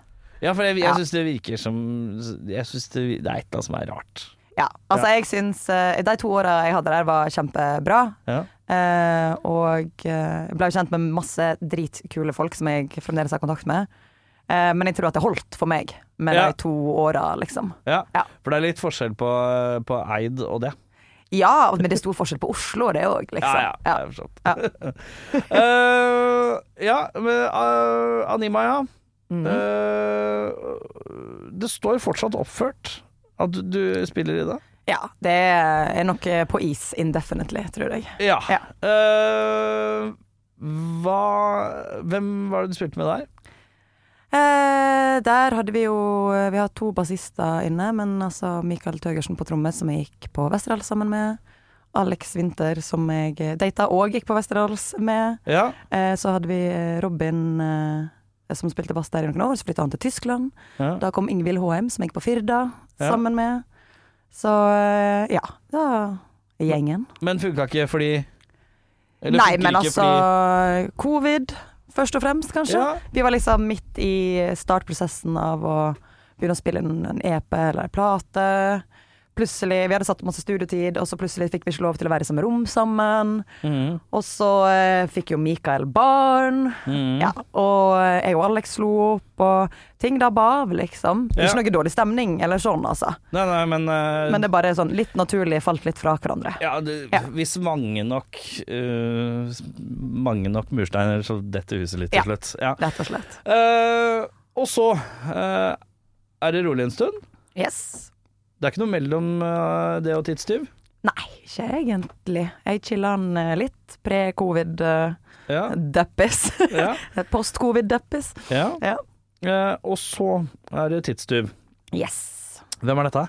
[SPEAKER 3] ja for jeg, jeg
[SPEAKER 4] Ja.
[SPEAKER 3] syns det virker som Jeg syns det, vi- det er et eller annet som er rart.
[SPEAKER 4] Ja, altså jeg syns eh, De to åra jeg hadde der var kjempebra.
[SPEAKER 3] Ja.
[SPEAKER 4] eh, og eh, jeg ble jo kjent med masse dritkule folk som jeg fremdeles har kontakt med. Eh, men jeg tror at det holdt for meg med
[SPEAKER 3] Ja.
[SPEAKER 4] de to åra, liksom.
[SPEAKER 3] Ja.
[SPEAKER 4] Ja.
[SPEAKER 3] For det er litt forskjell på, på Eid og det.
[SPEAKER 4] Ja, men det er stor forskjell på Oslo og det òg, liksom.
[SPEAKER 3] Ja, ja,
[SPEAKER 4] Ja.
[SPEAKER 3] jeg har forstått. Eh, ja, men eh, Anima, ja.
[SPEAKER 4] Mm.
[SPEAKER 3] Mm. Eh, det står fortsatt oppført at du, du spiller i det.
[SPEAKER 4] ja. Det er nok eh, på is indefinitely, tror jeg.
[SPEAKER 3] Ja.
[SPEAKER 4] Ja.
[SPEAKER 3] Eh, hva Hvem var det du spilte med der?
[SPEAKER 4] Eh, der hadde vi jo eh, Vi har to bassister inne, men altså Mikael Tøgersen på tromme, som jeg gikk på Westerdals sammen med. Alex Winther, som jeg data og gikk på Westerdals med.
[SPEAKER 3] Ja.
[SPEAKER 4] Eh, så hadde vi eh, Robin, eh, som spilte bass der i noen år, så flytta han til Tyskland.
[SPEAKER 3] Ja.
[SPEAKER 4] Da kom Ingvild Håheim, som jeg gikk på Firda,
[SPEAKER 3] Ja.
[SPEAKER 4] sammen med. Så eh, ja, da er gjengen.
[SPEAKER 3] Men funka ikke fordi eller
[SPEAKER 4] Nei,
[SPEAKER 3] funker
[SPEAKER 4] men
[SPEAKER 3] ikke
[SPEAKER 4] altså Covid, først og fremst, kanskje.
[SPEAKER 3] Ja.
[SPEAKER 4] Vi var liksom midt i startprosessen av å begynne å spille en, en EP eller en plate. Plutselig, Vi hadde satt masse studietid, og så plutselig fikk vi ikke lov til å være i samme rom sammen.
[SPEAKER 3] fordi
[SPEAKER 4] Og så eh, fikk jo Mikael barn,
[SPEAKER 3] Mm.
[SPEAKER 4] ja, og eh, jeg og Alex slo opp, og ting dabba av, liksom. Det er
[SPEAKER 3] Ja.
[SPEAKER 4] Ikke noe dårlig stemning eller sånn, altså.
[SPEAKER 3] Nei, nei, men, eh,
[SPEAKER 4] Men det er bare sånn litt naturlig falt litt fra hverandre.
[SPEAKER 3] ja, det,
[SPEAKER 4] Ja.
[SPEAKER 3] Hvis mange nok eh, Mange nok mursteiner, så detter huset litt til
[SPEAKER 4] Ja.
[SPEAKER 3] slutt. Ja.
[SPEAKER 4] Rett og slett.
[SPEAKER 3] Eh, og så eh, er det rolig en stund.
[SPEAKER 4] Yes.
[SPEAKER 3] Det er ikke noe mellom eh, det og tidstyv.
[SPEAKER 4] Nei, ikke egentlig. Jeg chiller'n eh, litt. eh, Pre-covid-deppis.
[SPEAKER 3] Ja, ja,
[SPEAKER 4] Post-covid-deppis.
[SPEAKER 3] ja.
[SPEAKER 4] Ja.
[SPEAKER 3] Eh, og så er det tidstyv.
[SPEAKER 4] Yes.
[SPEAKER 3] Hvem er dette?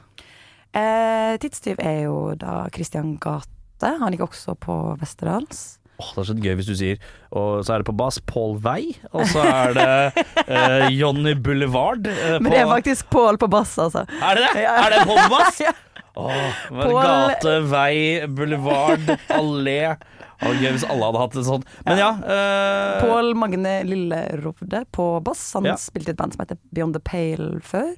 [SPEAKER 4] Eh, tidstyv er jo da Christian Gate. Han gikk også på Westerdals.
[SPEAKER 3] Åh, det er så gøy hvis du sier Og så er det på bass Paul Vei, og så er det eh, Johnny Boulevard. eh,
[SPEAKER 4] Men
[SPEAKER 3] på,
[SPEAKER 4] det er faktisk Pål på bass, altså.
[SPEAKER 3] Er det det?
[SPEAKER 4] Ja.
[SPEAKER 3] Er det på bass?
[SPEAKER 4] Ja.
[SPEAKER 3] Åh, hva er det?
[SPEAKER 4] Paul-
[SPEAKER 3] Gate, vei, boulevard, allé. Åh, gøy hvis alle hadde hatt det sånn. Men ja. eh,
[SPEAKER 4] Pål Magne Lillerovde på bass. Han
[SPEAKER 3] Ja.
[SPEAKER 4] spilte i et band som heter Beyond the Pale før.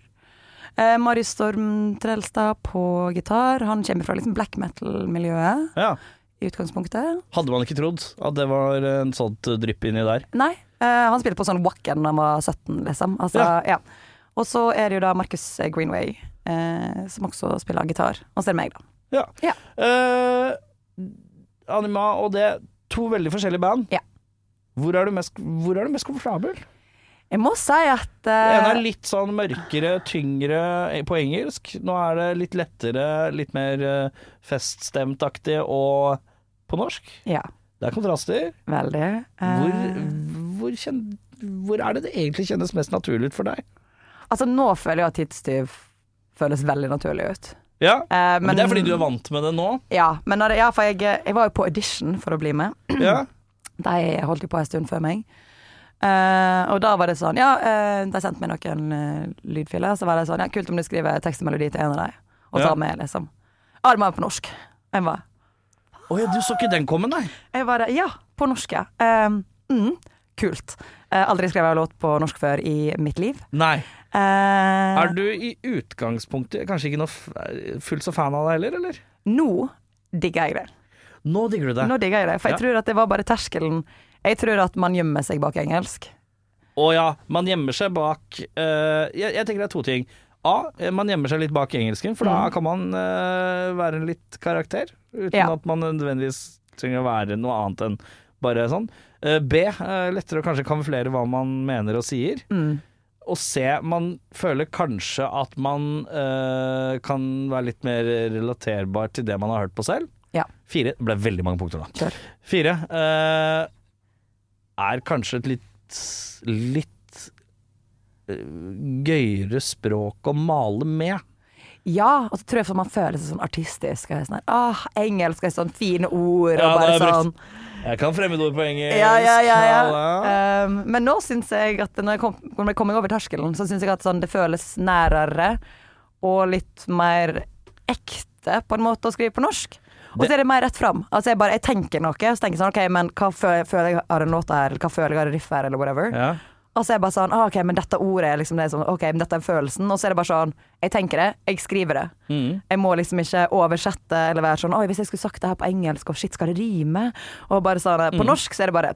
[SPEAKER 4] Eh, Marius Storm Trelstad på gitar. Han kommer fra liksom black metal-miljøet
[SPEAKER 3] Ja.
[SPEAKER 4] i utgangspunktet.
[SPEAKER 3] Hadde man ikke trodd at det var en sånt drypp inni der.
[SPEAKER 4] Nei, eh, han spilte på sånn Wacken da han var 17, liksom. Altså,
[SPEAKER 3] Ja.
[SPEAKER 4] ja. Og så er det jo da Marcus Greenway, eh, som også spiller gitar. Og så er det meg, da.
[SPEAKER 3] Ja.
[SPEAKER 4] Ja.
[SPEAKER 3] Eh, Anima og det, to veldig forskjellige band.
[SPEAKER 4] Ja. Eh.
[SPEAKER 3] Hvor er du mest, hvor er du mest komfortabel?
[SPEAKER 4] Jeg må si at
[SPEAKER 3] Det ene er
[SPEAKER 4] eh,
[SPEAKER 3] litt sånn mørkere, tyngre eh, på engelsk. Nå er det litt lettere, litt mer eh, feststemtaktig og på norsk.
[SPEAKER 4] Ja,
[SPEAKER 3] Det er kontraster.
[SPEAKER 4] veldig. Eh,
[SPEAKER 3] Hvor, hvor, kjen, hvor er det det egentlig kjennes mest naturlig ut for deg?
[SPEAKER 4] Altså, nå føler jeg at tidstyv føles veldig naturlig ut.
[SPEAKER 3] Ja,
[SPEAKER 4] Eh,
[SPEAKER 3] men, Det er fordi du er vant med det nå.
[SPEAKER 4] Ja, men når det, ja, for jeg, eh, jeg var jo på audition for å bli med.
[SPEAKER 3] Ja.
[SPEAKER 4] De holdt jo på en stund før meg. Eh, og da var det sånn Ja, eh, de sendte meg noen eh, lydfiler. Så var det sånn Ja, kult om du skriver tekst og melodi til en av dem, og
[SPEAKER 3] Ja.
[SPEAKER 4] tar med, liksom. Ja, det må være på norsk. Jeg var,
[SPEAKER 3] Å ja, du så ikke den komme, nei.
[SPEAKER 4] jeg var Ja, på norsk, ja. Eh, mm, kult. Eh, aldri skrevet en låt på norsk før i mitt liv.
[SPEAKER 3] Nei.
[SPEAKER 4] Eh,
[SPEAKER 3] Er du i utgangspunktet kanskje ikke noe f- eh, fullt så fan av det heller, eller?
[SPEAKER 4] Nå digger jeg det.
[SPEAKER 3] Nå digger du det.
[SPEAKER 4] Nå digger jeg det. For jeg
[SPEAKER 3] Ja.
[SPEAKER 4] tror at det var bare terskelen Jeg tror at man gjemmer seg bak engelsk.
[SPEAKER 3] Å ja, man gjemmer seg bak eh, jeg, jeg tenker det er to ting. A, eh, man gjemmer seg litt bak engelsken, for da kan man eh, være en litt karakter. Uten
[SPEAKER 4] Ja.
[SPEAKER 3] at man nødvendigvis trenger å være noe annet enn bare sånn. Eh, B, eh, lettere å kanskje kamuflere hva man mener og sier.
[SPEAKER 4] Mm.
[SPEAKER 3] Og C, man føler kanskje at man eh, kan være litt mer relaterbar til det man har hørt på selv.
[SPEAKER 4] Ja.
[SPEAKER 3] Fire, det ble veldig mange punkter da.
[SPEAKER 4] Kjør.
[SPEAKER 3] Fire, eh, er kanskje et litt, litt eh, gøyere språk å male med.
[SPEAKER 4] Ja, og så tror jeg for man føler seg sånn artistisk. Og jeg er sånn, her, ah, engelsk er sånn fine ord, og
[SPEAKER 3] Ja,
[SPEAKER 4] bare
[SPEAKER 3] det er brukt.
[SPEAKER 4] sånn
[SPEAKER 3] Jeg kan fremmedord på engelsk.
[SPEAKER 4] Ja, ja, ja.
[SPEAKER 3] halla.
[SPEAKER 4] ja. Um, men nå syns jeg at når jeg kom, når jeg kom meg over terskelen, så syns jeg at sånn, det føles nærere og litt mer ekte på en måte å skrive på norsk. Og så er det mer rett fram. Altså jeg, bare, jeg tenker noe, så tenker jeg sånn OK, men hva føler, føler jeg har en låt her, eller hva føler jeg har en riff her, eller whatever.
[SPEAKER 3] Ja.
[SPEAKER 4] Og så er jeg bare sånn ah, OK, men dette ordet er liksom det som OK, men dette er følelsen. Og så er det bare sånn Jeg tenker det, jeg skriver det. Jeg må liksom ikke oversette eller være sånn Oi, hvis jeg skulle sagt det her på engelsk, og shit, skal det rime? Og bare sånn På norsk så er det bare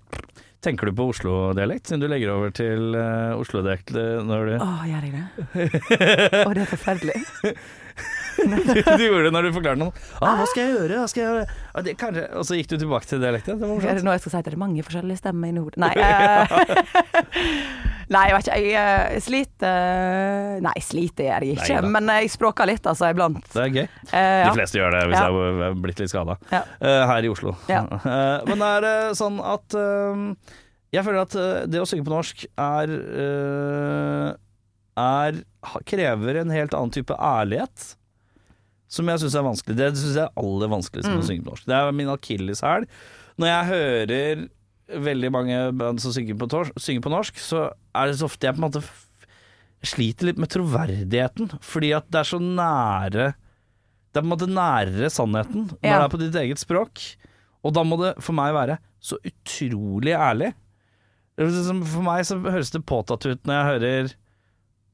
[SPEAKER 3] Tenker du på Oslo-dialekt, siden du legger over til eh, Oslo-dialekt eh, når du...
[SPEAKER 4] Å, gjør jeg det? Å, det er forferdelig.
[SPEAKER 3] du gjorde det når du forklarte noe. Ah, hva skal jeg gjøre? Hva skal jeg gjøre? Ah, det, kanskje. Og så gikk du tilbake til dialekten. Det var
[SPEAKER 4] Er det
[SPEAKER 3] morsomt.
[SPEAKER 4] noe jeg skal si? Det er mange forskjellige stemmer inni hodet. Nei, eh, nei, jeg vet ikke. Jeg eh, sliter Nei, sliter gjør jeg ikke,
[SPEAKER 3] Neida.
[SPEAKER 4] men jeg språker litt, altså, iblant.
[SPEAKER 3] Det er gøy.
[SPEAKER 4] Eh,
[SPEAKER 3] De
[SPEAKER 4] ja.
[SPEAKER 3] fleste gjør det hvis
[SPEAKER 4] Ja.
[SPEAKER 3] jeg er blitt litt skada.
[SPEAKER 4] Ja.
[SPEAKER 3] her i Oslo.
[SPEAKER 4] Ja.
[SPEAKER 3] Eh, men det er eh, sånn at eh, Jeg føler at eh, det å synge på norsk er eh, Er ha- Krever en helt annen type ærlighet. Som jeg syns er vanskelig. Det syns jeg er aller vanskeligst
[SPEAKER 4] Mm.
[SPEAKER 3] med å synge på norsk. Det er min akilleshæl. Når jeg hører veldig mange band som synger på, tors, synger på norsk, så er det så ofte jeg på en måte f- sliter litt med troverdigheten. Fordi at det er så nære Det er på en måte nærere sannheten når
[SPEAKER 4] Ja.
[SPEAKER 3] det er på ditt eget språk. Og da må det for meg være så utrolig ærlig. Det er liksom- For meg så høres det påtatt ut når jeg hører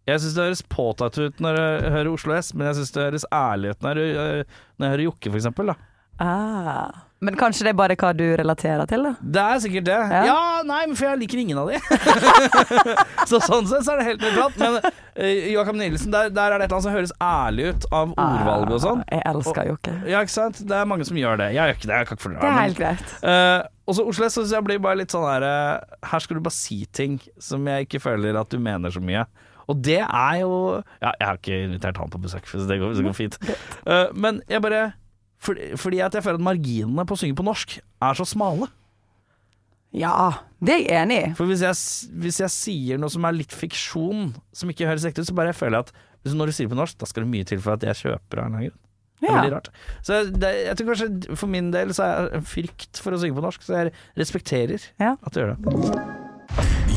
[SPEAKER 3] jeg syns det høres påtatt ut når jeg hører Oslo S, men jeg syns det høres ærlig ut når jeg, når jeg hører Jokke, for eksempel. Da.
[SPEAKER 4] Ah. Men kanskje det er bare hva du relaterer til, da?
[SPEAKER 3] Det er sikkert det. Ja.
[SPEAKER 4] Ja.
[SPEAKER 3] nei, men for jeg liker ingen av de. så sånn sett så er det helt nøytralt. Men eh, Joakim Nielsen, der, der er det et eller annet som høres ærlig ut av ordvalget og sånn.
[SPEAKER 4] Ah, Jeg elsker jo ikke.
[SPEAKER 3] Ja, ikke sant? Det er mange som gjør det. Jeg gjør ikke det. Jeg kan ikke forklare
[SPEAKER 4] Det er
[SPEAKER 3] men-
[SPEAKER 4] helt greit.
[SPEAKER 3] Eh, og så Oslo S syns jeg blir bare litt sånn her eh, Her skal du bare si ting som jeg ikke føler at du mener så mye. Og det er jo ja, Jeg har ikke invitert han på besøk, så det går, så det går fint. Eh, men jeg bare fordi, fordi at jeg føler at marginene på å synge på norsk er så smale.
[SPEAKER 4] Ja, det er jeg enig i.
[SPEAKER 3] For hvis jeg, s- hvis jeg sier noe som er litt fiksjon, som ikke høres ekte ut, så bare jeg føler at hvis når du sier det på norsk, da skal det mye til for at jeg kjøper av en eller annen grunn. Det er
[SPEAKER 4] Ja.
[SPEAKER 3] veldig rart. Så det, jeg tror kanskje for min del så er det en frykt for å synge på norsk, så jeg respekterer
[SPEAKER 4] Ja.
[SPEAKER 3] at du gjør det.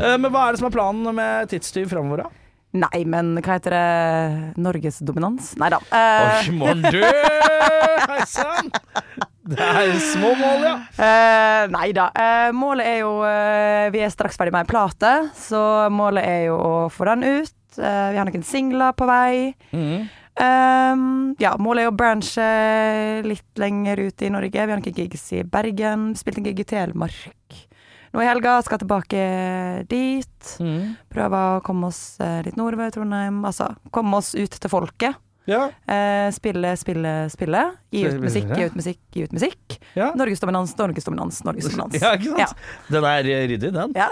[SPEAKER 3] Eh, Men hva er det som er planen med tidstyv framover, da?
[SPEAKER 4] Nei, men hva heter det Norges dominans? Nei da. Eh,
[SPEAKER 3] Oi, mon du! Hei sann! Det er små mål, ja.
[SPEAKER 4] Eh, nei da. Eh, målet er jo eh, Vi er straks ferdig med ei plate, så målet er jo å få den ut. Eh, vi har noen singler på vei.
[SPEAKER 3] Mm,
[SPEAKER 4] Eh, ja, målet er å branche litt lenger ut i Norge. Vi har noen gigs i Bergen. Spilte en gig i Telemark nå i helga. Skal tilbake dit.
[SPEAKER 3] mm.
[SPEAKER 4] Prøve å komme oss eh, litt nordover i Trondheim. Altså komme oss ut til folket.
[SPEAKER 3] ja.
[SPEAKER 4] Eh, spille, spille, spille. Gi ut
[SPEAKER 3] Spille,
[SPEAKER 4] musikk,
[SPEAKER 3] spille.
[SPEAKER 4] gi ut musikk, gi ut musikk.
[SPEAKER 3] Ja.
[SPEAKER 4] Norges dominans, Norges dominans, Norges dominans.
[SPEAKER 3] Ja, ikke sant? Den er eh, ryddig, den.
[SPEAKER 4] Ja.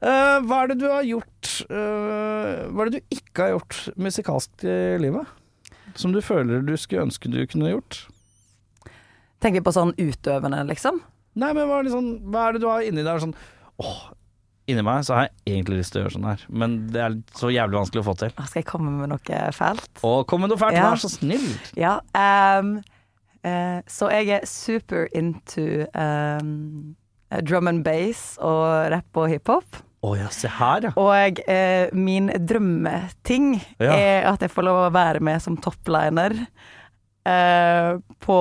[SPEAKER 3] Eh, hva er det du har gjort eh, Hva er det du ikke har gjort musikalsk i livet? Som du føler du skulle ønske du kunne gjort?
[SPEAKER 4] Tenker vi på sånn utøvende, liksom?
[SPEAKER 3] Nei, men hva er, det sånn, hva er det du har inni deg sånn Åh, inni meg så har jeg egentlig lyst til å gjøre sånn her, men det er så jævlig vanskelig å få til.
[SPEAKER 4] Ah, Skal jeg komme med noe fælt?
[SPEAKER 3] Å, kom med noe fælt,
[SPEAKER 4] Ja.
[SPEAKER 3] vær så snill!
[SPEAKER 4] Ja. ehm, eh, så jeg er super into ehm, drum and bass og rapp og hiphop.
[SPEAKER 3] Å ja, se her, ja.
[SPEAKER 4] Og eh, min drømmeting
[SPEAKER 3] Ja.
[SPEAKER 4] er at jeg får lov å være med som topliner eh, på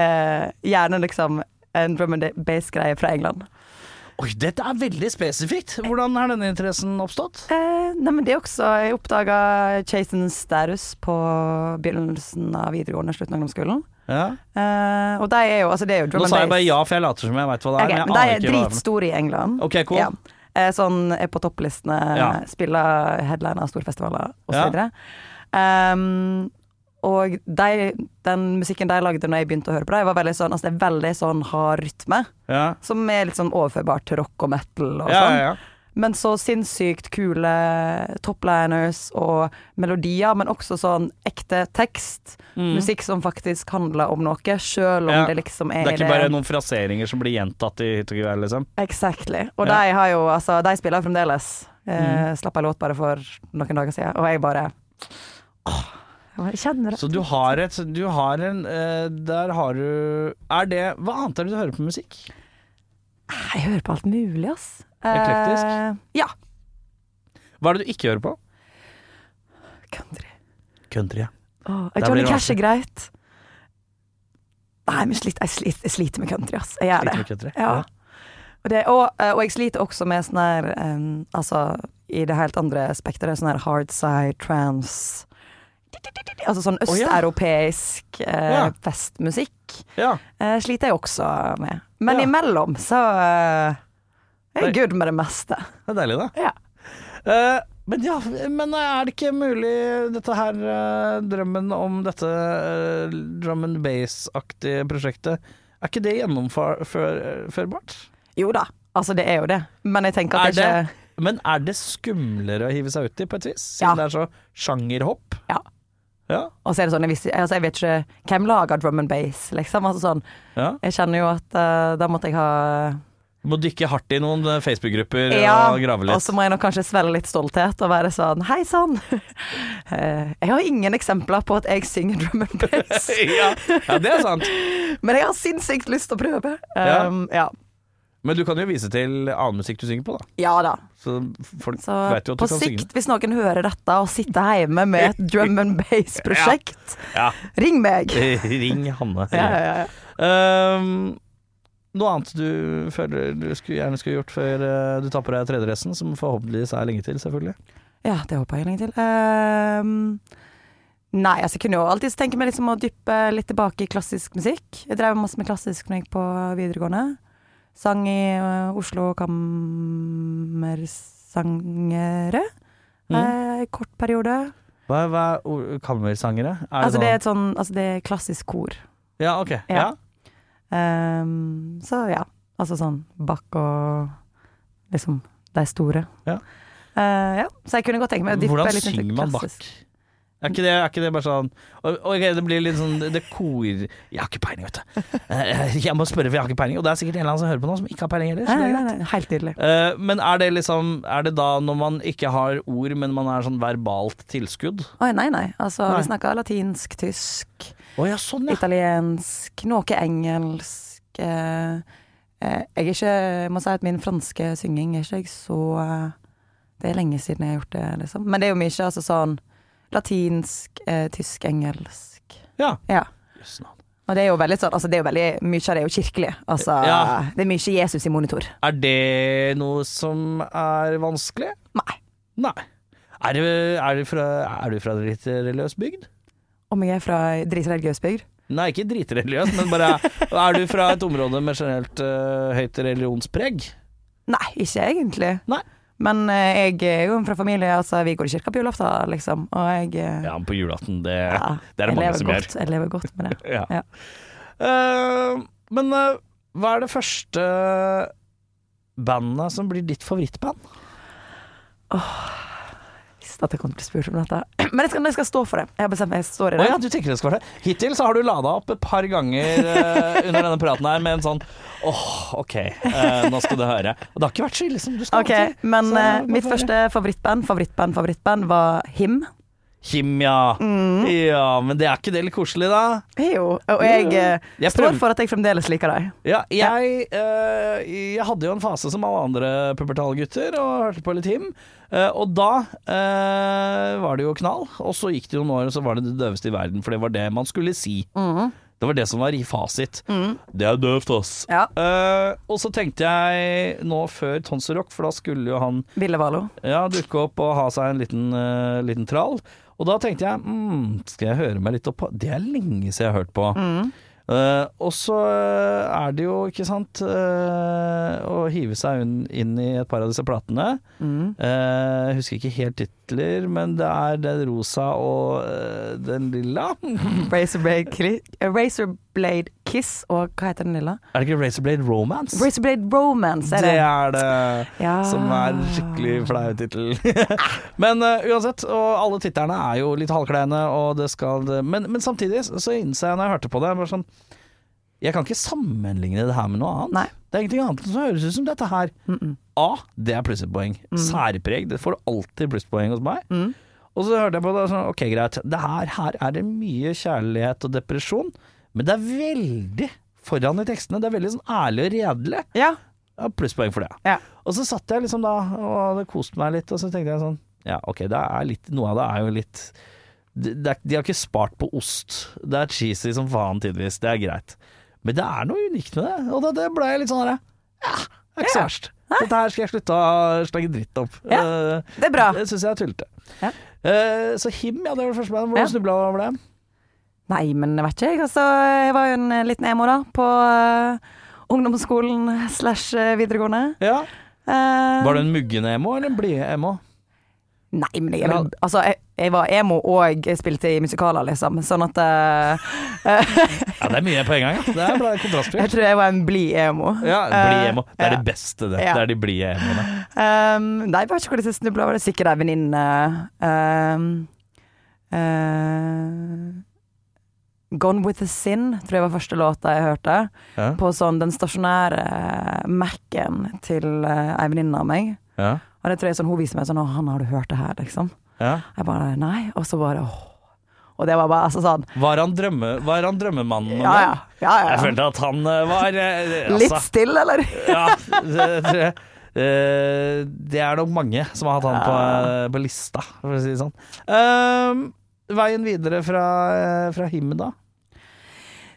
[SPEAKER 4] eh, gjerne liksom en drum and bass-greie fra England.
[SPEAKER 3] Oi, dette er veldig spesifikt. Hvordan er denne interessen oppstått?
[SPEAKER 4] Eh, nei, men det er også Jeg oppdaga Chasen Status på begynnelsen av videregående, slutten av ungdomsskolen.
[SPEAKER 3] Ja.
[SPEAKER 4] Eh, og de er jo Altså, det er jo drum
[SPEAKER 3] Nå
[SPEAKER 4] and
[SPEAKER 3] sa
[SPEAKER 4] bass.
[SPEAKER 3] jeg bare ja, for jeg later som jeg veit hva det er.
[SPEAKER 4] Ok,
[SPEAKER 3] men
[SPEAKER 4] men de
[SPEAKER 3] jeg
[SPEAKER 4] er
[SPEAKER 3] aner ikke hva det er. for noe.
[SPEAKER 4] dritstore i England.
[SPEAKER 3] Ok, cool.
[SPEAKER 4] Ja. Eh, Sånn er på topplistene,
[SPEAKER 3] Ja.
[SPEAKER 4] spiller headliner, storfestivaler
[SPEAKER 3] Ja.
[SPEAKER 4] osv. Um, og de, den musikken de lagde når jeg begynte å høre på det, var veldig sånn, altså det er veldig sånn hard rytme.
[SPEAKER 3] Ja.
[SPEAKER 4] Som er litt sånn overførbart til rock og metal og
[SPEAKER 3] Ja,
[SPEAKER 4] sånn.
[SPEAKER 3] ja, ja.
[SPEAKER 4] Men så sinnssykt kule topliners og melodier, men også sånn ekte tekst. Musikk som faktisk handler om noe, sjøl om
[SPEAKER 3] Mm. Ja.
[SPEAKER 4] det liksom
[SPEAKER 3] Det
[SPEAKER 4] er
[SPEAKER 3] er
[SPEAKER 4] i
[SPEAKER 3] ikke bare noen fraseringer som blir gjentatt i hytt og gevær, liksom?
[SPEAKER 4] Exactly. Og
[SPEAKER 3] Ja. Mhm.
[SPEAKER 4] de har jo, altså, de spiller fremdeles. Eh, Slapp ei låt bare for noen dager siden, og jeg bare Åh, jeg kjenner det.
[SPEAKER 3] Så du har et Du har en eh, Der har du Er det Hva annet er det du hører på musikk?
[SPEAKER 4] Jeg hører på alt mulig, ass.
[SPEAKER 3] Eklektisk?
[SPEAKER 4] Eh, ja.
[SPEAKER 3] Hva er det du ikke hører på?
[SPEAKER 4] Country.
[SPEAKER 3] Country, ja.
[SPEAKER 4] Åh,
[SPEAKER 3] Der blir
[SPEAKER 4] Johnny
[SPEAKER 3] det
[SPEAKER 4] Cash er greit. Nei, men slit, jeg, slit, jeg sliter med country, ass. Jeg gjør det.
[SPEAKER 3] Litt country.
[SPEAKER 4] Ja. Og, det, og, eh, og jeg sliter også med sånn her em, Altså, i det helt andre spekteret, sånn her hardside, trance Altså sånn
[SPEAKER 3] Å, ja.
[SPEAKER 4] østeuropeisk eh,
[SPEAKER 3] Ja.
[SPEAKER 4] festmusikk
[SPEAKER 3] ja.
[SPEAKER 4] eh, sliter jeg også med. Men
[SPEAKER 3] Ja.
[SPEAKER 4] imellom så eh, er jeg
[SPEAKER 3] Nei.
[SPEAKER 4] good med det meste.
[SPEAKER 3] Det er deilig, det.
[SPEAKER 4] Ja.
[SPEAKER 3] Eh, men ja, men er det ikke mulig, dette her eh, drømmen om dette eh, drum and base-aktige prosjektet, er ikke det gjennomførbart?
[SPEAKER 4] Jo da, altså det er jo det, men jeg tenker
[SPEAKER 3] Er
[SPEAKER 4] at det
[SPEAKER 3] det,
[SPEAKER 4] ikke
[SPEAKER 3] men er det skumlere å hive seg uti, på et vis?
[SPEAKER 4] Ja.
[SPEAKER 3] Siden det er så sjangerhopp?
[SPEAKER 4] Ja.
[SPEAKER 3] Ja.
[SPEAKER 4] Og så er det sånn, jeg, visste, altså jeg vet ikke hvem lager drum and bass, liksom. Altså sånn,
[SPEAKER 3] ja.
[SPEAKER 4] jeg kjenner jo at eh, da måtte jeg ha
[SPEAKER 3] Må dykke hardt i noen eh, Facebook-grupper
[SPEAKER 4] Ja, altså.
[SPEAKER 3] og grave
[SPEAKER 4] og
[SPEAKER 3] litt.
[SPEAKER 4] så må jeg nok kanskje svelle litt stolthet og være sånn Hei sann! Eh, jeg har ingen eksempler på at jeg synger drum and bass,
[SPEAKER 3] ja. ja, det er sant.
[SPEAKER 4] men jeg har sinnssykt lyst til å prøve.
[SPEAKER 3] Ja.
[SPEAKER 4] Um, ja.
[SPEAKER 3] Men du kan jo vise til annen musikk du synger på, da.
[SPEAKER 4] ja da.
[SPEAKER 3] Så folk
[SPEAKER 4] Så
[SPEAKER 3] vet jo at
[SPEAKER 4] på
[SPEAKER 3] du kan synge.
[SPEAKER 4] sikt, hvis noen hører dette og sitter hjemme med et drum and bass-prosjekt,
[SPEAKER 3] Ja.
[SPEAKER 4] ring meg!
[SPEAKER 3] Ring Hanne.
[SPEAKER 4] Ja, ja, ja.
[SPEAKER 3] Ehm, noe annet du føler du skulle, gjerne skulle gjort før eh, du tapper deg tredjedressen, som forhåpentligvis er lenge til, selvfølgelig.
[SPEAKER 4] Ja, det håper jeg lenge til. Ehm, nei, altså jeg kunne jo alltid tenke meg liksom å dyppe litt tilbake i klassisk musikk. Jeg drev masse med klassisk når jeg gikk på videregående. Sang i eh, Oslo Kammersangere
[SPEAKER 3] Mm.
[SPEAKER 4] eh, i kort periode.
[SPEAKER 3] Hva, hva er o- kammersangere? Er
[SPEAKER 4] Altså det er
[SPEAKER 3] sånn-
[SPEAKER 4] et sånn, altså det er klassisk kor.
[SPEAKER 3] Ja, ok. Ja.
[SPEAKER 4] Ja. Ehm, så ja, altså sånn Bach og liksom de store.
[SPEAKER 3] Ja.
[SPEAKER 4] Eh, ja, så jeg kunne godt tenke meg å dyppe
[SPEAKER 3] Hvordan
[SPEAKER 4] litt
[SPEAKER 3] synger man Bach? Er ikke det, er ikke det bare sånn og- Ok, det blir litt sånn Det kor Jeg har ikke peiling, vet du. Eh, Jeg må spørre, for jeg har ikke peiling. Og det er sikkert en eller annen som hører på nå som ikke har peiling heller. Så det
[SPEAKER 4] Nei,
[SPEAKER 3] er
[SPEAKER 4] nei,
[SPEAKER 3] greit.
[SPEAKER 4] nei, helt nydelig.
[SPEAKER 3] Eh, Men er det liksom Er det da når man ikke har ord, men man er sånn verbalt tilskudd?
[SPEAKER 4] Oi, nei, nei. Altså,
[SPEAKER 3] Nei.
[SPEAKER 4] vi snakker latinsk, tysk,
[SPEAKER 3] Å ja, sånn ja.
[SPEAKER 4] italiensk, noe engelsk. Eh, eh, jeg er ikke Jeg må si at min franske synging er ikke jeg så eh, Det er lenge siden jeg har gjort det, liksom. Men det er jo mye altså, sånn latinsk, eh, tysk, engelsk.
[SPEAKER 3] Ja.
[SPEAKER 4] Ja.
[SPEAKER 3] Jøss, navn.
[SPEAKER 4] Og det er jo veldig sånn, altså det er jo veldig, mye av det er jo kirkelig. Altså,
[SPEAKER 3] Ja.
[SPEAKER 4] Det er mye Jesus i monitor.
[SPEAKER 3] Er det noe som er vanskelig?
[SPEAKER 4] Nei.
[SPEAKER 3] Nei. Er du, er du, fra, er du fra en litt religiøs bygd?
[SPEAKER 4] Om jeg er fra ei dritreligiøs bygd?
[SPEAKER 3] Nei, ikke dritreligiøs, men bare Er du fra et område med generelt eh, høyt religionspreg?
[SPEAKER 4] Nei, ikke egentlig.
[SPEAKER 3] Nei.
[SPEAKER 4] Men eh, jeg er jo fra familie, altså vi går i kirka på julaften, liksom. Og jeg eh,
[SPEAKER 3] Ja, men på julaften, det,
[SPEAKER 4] ja,
[SPEAKER 3] det er det
[SPEAKER 4] jeg
[SPEAKER 3] mange
[SPEAKER 4] lever
[SPEAKER 3] som gjør.
[SPEAKER 4] godt, Jeg lever godt med det.
[SPEAKER 3] Ja.
[SPEAKER 4] Ja.
[SPEAKER 3] Eh, men eh, hva er det første bandet som blir ditt favorittband?
[SPEAKER 4] Visste at jeg kom til å bli spurt om dette. Men jeg skal, jeg skal stå for det. Jeg har bestemt meg, jeg står i
[SPEAKER 3] Å
[SPEAKER 4] det.
[SPEAKER 3] ja, du tenker det skal være det. Hittil så har du lada opp et par ganger eh, under denne praten her med en sånn åh, ok, eh, nå skal du høre. Og det har ikke vært så ille som du skal
[SPEAKER 4] Ok,
[SPEAKER 3] alltid.
[SPEAKER 4] Men
[SPEAKER 3] Så,
[SPEAKER 4] eh,
[SPEAKER 3] hva
[SPEAKER 4] mitt
[SPEAKER 3] får jeg?
[SPEAKER 4] første favorittband, favorittband, favorittband var Him.
[SPEAKER 3] Kim, ja.
[SPEAKER 4] Mm.
[SPEAKER 3] Ja, men det er ikke det litt koselig, da?
[SPEAKER 4] Jo, og jeg, eh,
[SPEAKER 3] Jeg
[SPEAKER 4] står
[SPEAKER 3] prøv-
[SPEAKER 4] for at jeg fremdeles liker dem.
[SPEAKER 3] Ja, jeg, eh, jeg hadde jo en fase som alle andre pubertale gutter og hørte på litt him. Eh, og da eh, var det jo knall, og så gikk det jo noen år, og så var det det døveste i verden, for det var det man skulle si. Det var det som var i fasit. Det er døvt, ass.
[SPEAKER 4] Ja.
[SPEAKER 3] Eh, og så tenkte jeg nå før Tonsor Rock, for da skulle jo han
[SPEAKER 4] Ville Valo.
[SPEAKER 3] ja, dukke opp og ha seg en liten, eh, liten trall. Og da tenkte jeg mm, skal jeg høre meg litt opp på Det er lenge siden jeg har hørt på.
[SPEAKER 4] Mm.
[SPEAKER 3] Eh, og så er det jo, ikke sant, eh, å hive seg inn, inn i et par av disse platene.
[SPEAKER 4] Mm.
[SPEAKER 3] Eh, jeg husker ikke helt titler, men det er den rosa og eh, den lilla. er
[SPEAKER 4] Razorblade, Kli- eh, Razorblade Kiss og hva heter den lilla?
[SPEAKER 3] det ikke Razorblade Romance?
[SPEAKER 4] Razorblade Romance er det.
[SPEAKER 3] det er det.
[SPEAKER 4] Ja.
[SPEAKER 3] Som
[SPEAKER 4] Ah.
[SPEAKER 3] er en skikkelig flau tittel. men eh, uansett, og alle titterne er jo litt halvkleine, og det skal Men, men samtidig så innså jeg når jeg hørte på det, jeg bare sånn Jeg kan ikke sammenligne det her med noe annet.
[SPEAKER 4] Nei.
[SPEAKER 3] Det er ingenting annet som høres ut som dette her. A, det er plusspoeng. Særpreg, det får alltid plusspoeng hos meg. Og så hørte jeg på det og sånn, ok greit, det her, her er det mye kjærlighet og depresjon, men det er veldig foran i tekstene, det er veldig sånn ærlig og redelig.
[SPEAKER 4] Ja.
[SPEAKER 3] Ja, plusspoeng for det.
[SPEAKER 4] Ja.
[SPEAKER 3] Og så satt jeg liksom da og hadde kost meg litt, og så tenkte jeg sånn Ja, ok, det er litt Noe av det er jo litt det, det er, De har ikke spart på ost. Det er cheesy som faen tidvis. Det er greit. Men det er noe unikt med det, og da det ble jeg litt sånn herre Ja, det er ikke så verst. Dette her skal jeg slutte å slage dritt om.
[SPEAKER 4] Ja,
[SPEAKER 3] Eh,
[SPEAKER 4] det er bra.
[SPEAKER 3] Det syns jeg er tullete.
[SPEAKER 4] Ja.
[SPEAKER 3] Eh, så Him, ja, det var det første bandet.
[SPEAKER 4] Ja.
[SPEAKER 3] Hvordan snubla du over det?
[SPEAKER 4] Nei, men jeg vet ikke, jeg. Altså, jeg var jo en liten emo da, på eh, ungdomsskolen slash eh, videregående.
[SPEAKER 3] Ja.
[SPEAKER 4] Eh,
[SPEAKER 3] Var du en muggende emo eller en blide emo?
[SPEAKER 4] Nei, men jeg, er vel- altså, jeg, jeg var emo og jeg spilte i musikaler, liksom. Sånn at eh,
[SPEAKER 3] Ja, det er mye på en gang, ja. Det er bra kontrastfylt.
[SPEAKER 4] jeg tror jeg var en blid emo.
[SPEAKER 3] Ja, bli emo. Det
[SPEAKER 4] Eh, ja.
[SPEAKER 3] er det beste, det.
[SPEAKER 4] Ja.
[SPEAKER 3] Det er de blide emoene.
[SPEAKER 4] Um, nei, jeg vet ikke hvordan jeg snubla over det. Sikkert ei venninne. Um, eh, Gone with the Sin tror jeg var første låta jeg hørte.
[SPEAKER 3] Ja.
[SPEAKER 4] På sånn den stasjonære Mac-en til eh, ei venninne av meg.
[SPEAKER 3] Ja.
[SPEAKER 4] Og det tror jeg sånn, hun viser meg sånn 'Å, han, har du hørt det her?' liksom.
[SPEAKER 3] Ja.
[SPEAKER 4] Jeg bare nei. Og så bare åh. Og det var bare altså sånn
[SPEAKER 3] Var, han drømme, var han drømmemannen? om
[SPEAKER 4] Ja ja.
[SPEAKER 3] den?
[SPEAKER 4] ja, ja,
[SPEAKER 3] Jeg
[SPEAKER 4] ja.
[SPEAKER 3] følte at han eh, var eh, altså,
[SPEAKER 4] Litt stille, eller?
[SPEAKER 3] ja, det, det, eh, det er nok mange som har hatt han på, eh, på lista, for å si det sånn. Ehm, veien videre fra, eh, fra Him, da?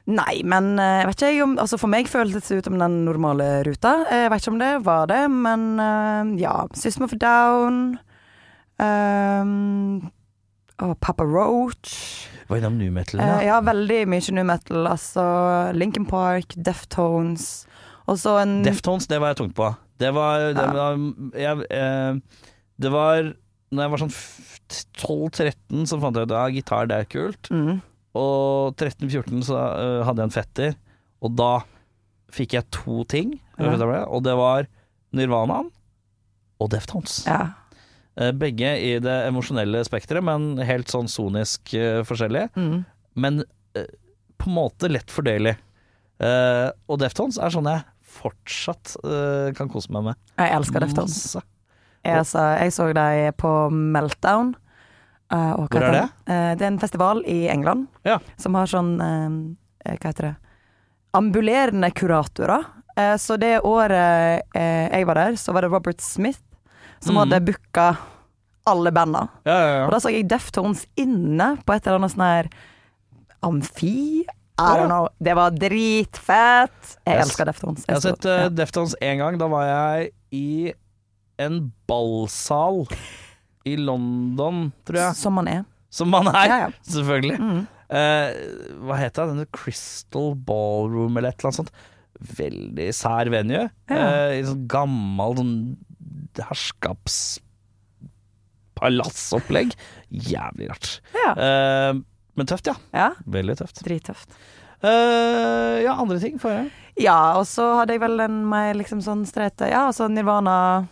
[SPEAKER 4] Nei, men eh, vet ikke jeg om Altså For meg føltes det ut som den normale ruta. Eh, Jeg vet ikke om det var det, men eh, ja. System of a Down. ehm, og Papa Roach.
[SPEAKER 3] Var innom new metal,
[SPEAKER 4] Eh,
[SPEAKER 3] ja.
[SPEAKER 4] ja, veldig mye new metal. Altså Lincoln Park, Deftones. Og så en
[SPEAKER 3] Deftones, det var jeg tungt på. Det var, det
[SPEAKER 4] Ja.
[SPEAKER 3] var, jeg, eh, det var Når jeg var sånn f- 12-13, så fant jeg ut at ja, gitar, det er kult.
[SPEAKER 4] mm,
[SPEAKER 3] Og 13-14 så øh, hadde jeg en fetter, og da fikk jeg to ting.
[SPEAKER 4] Ja.
[SPEAKER 3] Og det var Nirvanaen og Deftones.
[SPEAKER 4] ja.
[SPEAKER 3] Eh, Begge i det emosjonelle spekteret, men helt sånn sonisk eh, forskjellig.
[SPEAKER 4] Mm.
[SPEAKER 3] Men eh, på en måte lett fordelig. Eh, og Deftones er sånn jeg fortsatt eh, kan kose meg med.
[SPEAKER 4] Jeg elsker Deftones.
[SPEAKER 3] Masse.
[SPEAKER 4] Jeg, så- jeg så dem på Meltdown. eh, og hva
[SPEAKER 3] Hvor er
[SPEAKER 4] heter den? Eh, det er en festival i England
[SPEAKER 3] Ja.
[SPEAKER 4] som har sånn eh, Hva heter det Ambulerende kuratorer. Eh, så det året eh, jeg var der, så var det Robert Smith som hadde booka alle banda.
[SPEAKER 3] Ja, Mm. ja,
[SPEAKER 4] Og
[SPEAKER 3] ja.
[SPEAKER 4] da så jeg Deftones inne på et eller annet sånn her amfi. I don't know. Det var dritfett. Jeg
[SPEAKER 3] Yes.
[SPEAKER 4] elsker Deftones.
[SPEAKER 3] Jeg har
[SPEAKER 4] så-
[SPEAKER 3] sett eh,
[SPEAKER 4] ja.
[SPEAKER 3] Deftones én gang. Da var jeg i en ballsal i London, tror jeg.
[SPEAKER 4] Som man er.
[SPEAKER 3] Som man er,
[SPEAKER 4] Ja, Mm. ja.
[SPEAKER 3] selvfølgelig. Eh, hva heter det? Denne Crystal Ballroom eller et eller annet sånt. Veldig sær venue. Eh, I sånn gammel sånn herskapspalassopplegg. Jævlig rart.
[SPEAKER 4] Ja.
[SPEAKER 3] Eh, men tøft, ja.
[SPEAKER 4] ja.
[SPEAKER 3] Veldig tøft.
[SPEAKER 4] Drittøft.
[SPEAKER 3] Eh, ja, andre ting får jeg.
[SPEAKER 4] Ja, og så hadde jeg vel en meg liksom sånn streit Ja, altså Nirvana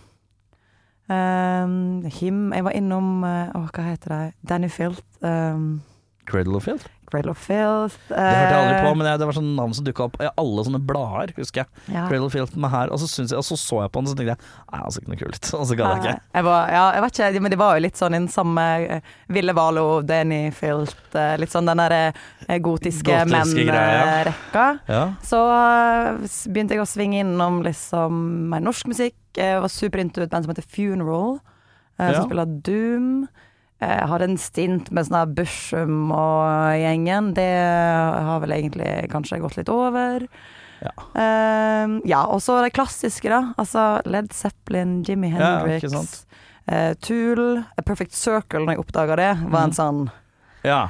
[SPEAKER 4] ehm, Him Jeg var innom eh, Å, hva heter de? Danny Filth. ehm,
[SPEAKER 3] Cradle of Filth.
[SPEAKER 4] Cradle of Filth.
[SPEAKER 3] Det hørte jeg aldri
[SPEAKER 4] Eh.
[SPEAKER 3] på, men jeg, det var sånn navn som dukka opp i alle sånne blader, husker jeg.
[SPEAKER 4] Ja.
[SPEAKER 3] Cradle of Filth med her, og så, syntes jeg, og så så jeg på den, og så tenkte jeg Nei, altså ikke noe kult. Og så ga jeg ikke.
[SPEAKER 4] Jeg var, ja, jeg vet ikke, men det var jo litt sånn i den samme eh, Ville Valo, Danny Filt, eh, litt sånn den der eh, gotiske eh,
[SPEAKER 3] Gotiske greia.
[SPEAKER 4] menn-rekka.
[SPEAKER 3] Ja.
[SPEAKER 4] Så eh, s- begynte jeg å svinge innom liksom mer norsk musikk. Jeg var superinto et band som heter Funeral, eh,
[SPEAKER 3] Ja.
[SPEAKER 4] som spiller Doom. Jeg hadde en stint med sånn her Bushum og gjengen. Det har vel egentlig kanskje gått litt over.
[SPEAKER 3] Ja.
[SPEAKER 4] Ehm, ja, og så det klassiske, da. Altså Led Zeppelin, Jimmy
[SPEAKER 3] Ja,
[SPEAKER 4] Hendrix,
[SPEAKER 3] ikke sant.
[SPEAKER 4] eh, Tool. A Perfect Circle, når jeg oppdaga det, var
[SPEAKER 3] Mhm.
[SPEAKER 4] en sånn
[SPEAKER 3] ja.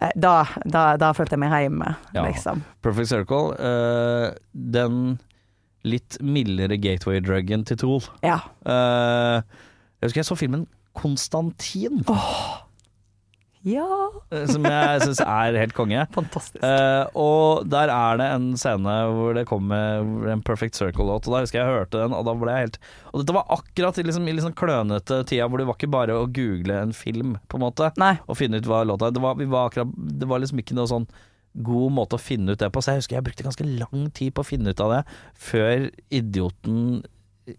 [SPEAKER 4] eh, da, da, da følte jeg meg hjemme,
[SPEAKER 3] Ja.
[SPEAKER 4] liksom.
[SPEAKER 3] Perfect Circle. eh, den litt mildere gateway-druggen til Tool.
[SPEAKER 4] Ja.
[SPEAKER 3] Eh, jeg husker jeg så filmen Konstantin,
[SPEAKER 4] ja.
[SPEAKER 3] eh, som jeg syns er helt konge.
[SPEAKER 4] Fantastisk.
[SPEAKER 3] Eh, og der er det en scene hvor det kommer en Perfect Circle-låt. Og da husker jeg jeg hørte den, og da ble jeg helt Og dette var akkurat i liksom, i liksom klønete tida hvor det var ikke bare å google en film, på en måte.
[SPEAKER 4] Nei.
[SPEAKER 3] og finne ut hva låta det var, vi var akkurat, det var liksom ikke noe sånn god måte å finne ut det på, så jeg husker jeg brukte ganske lang tid på å finne ut av det, før idioten eh,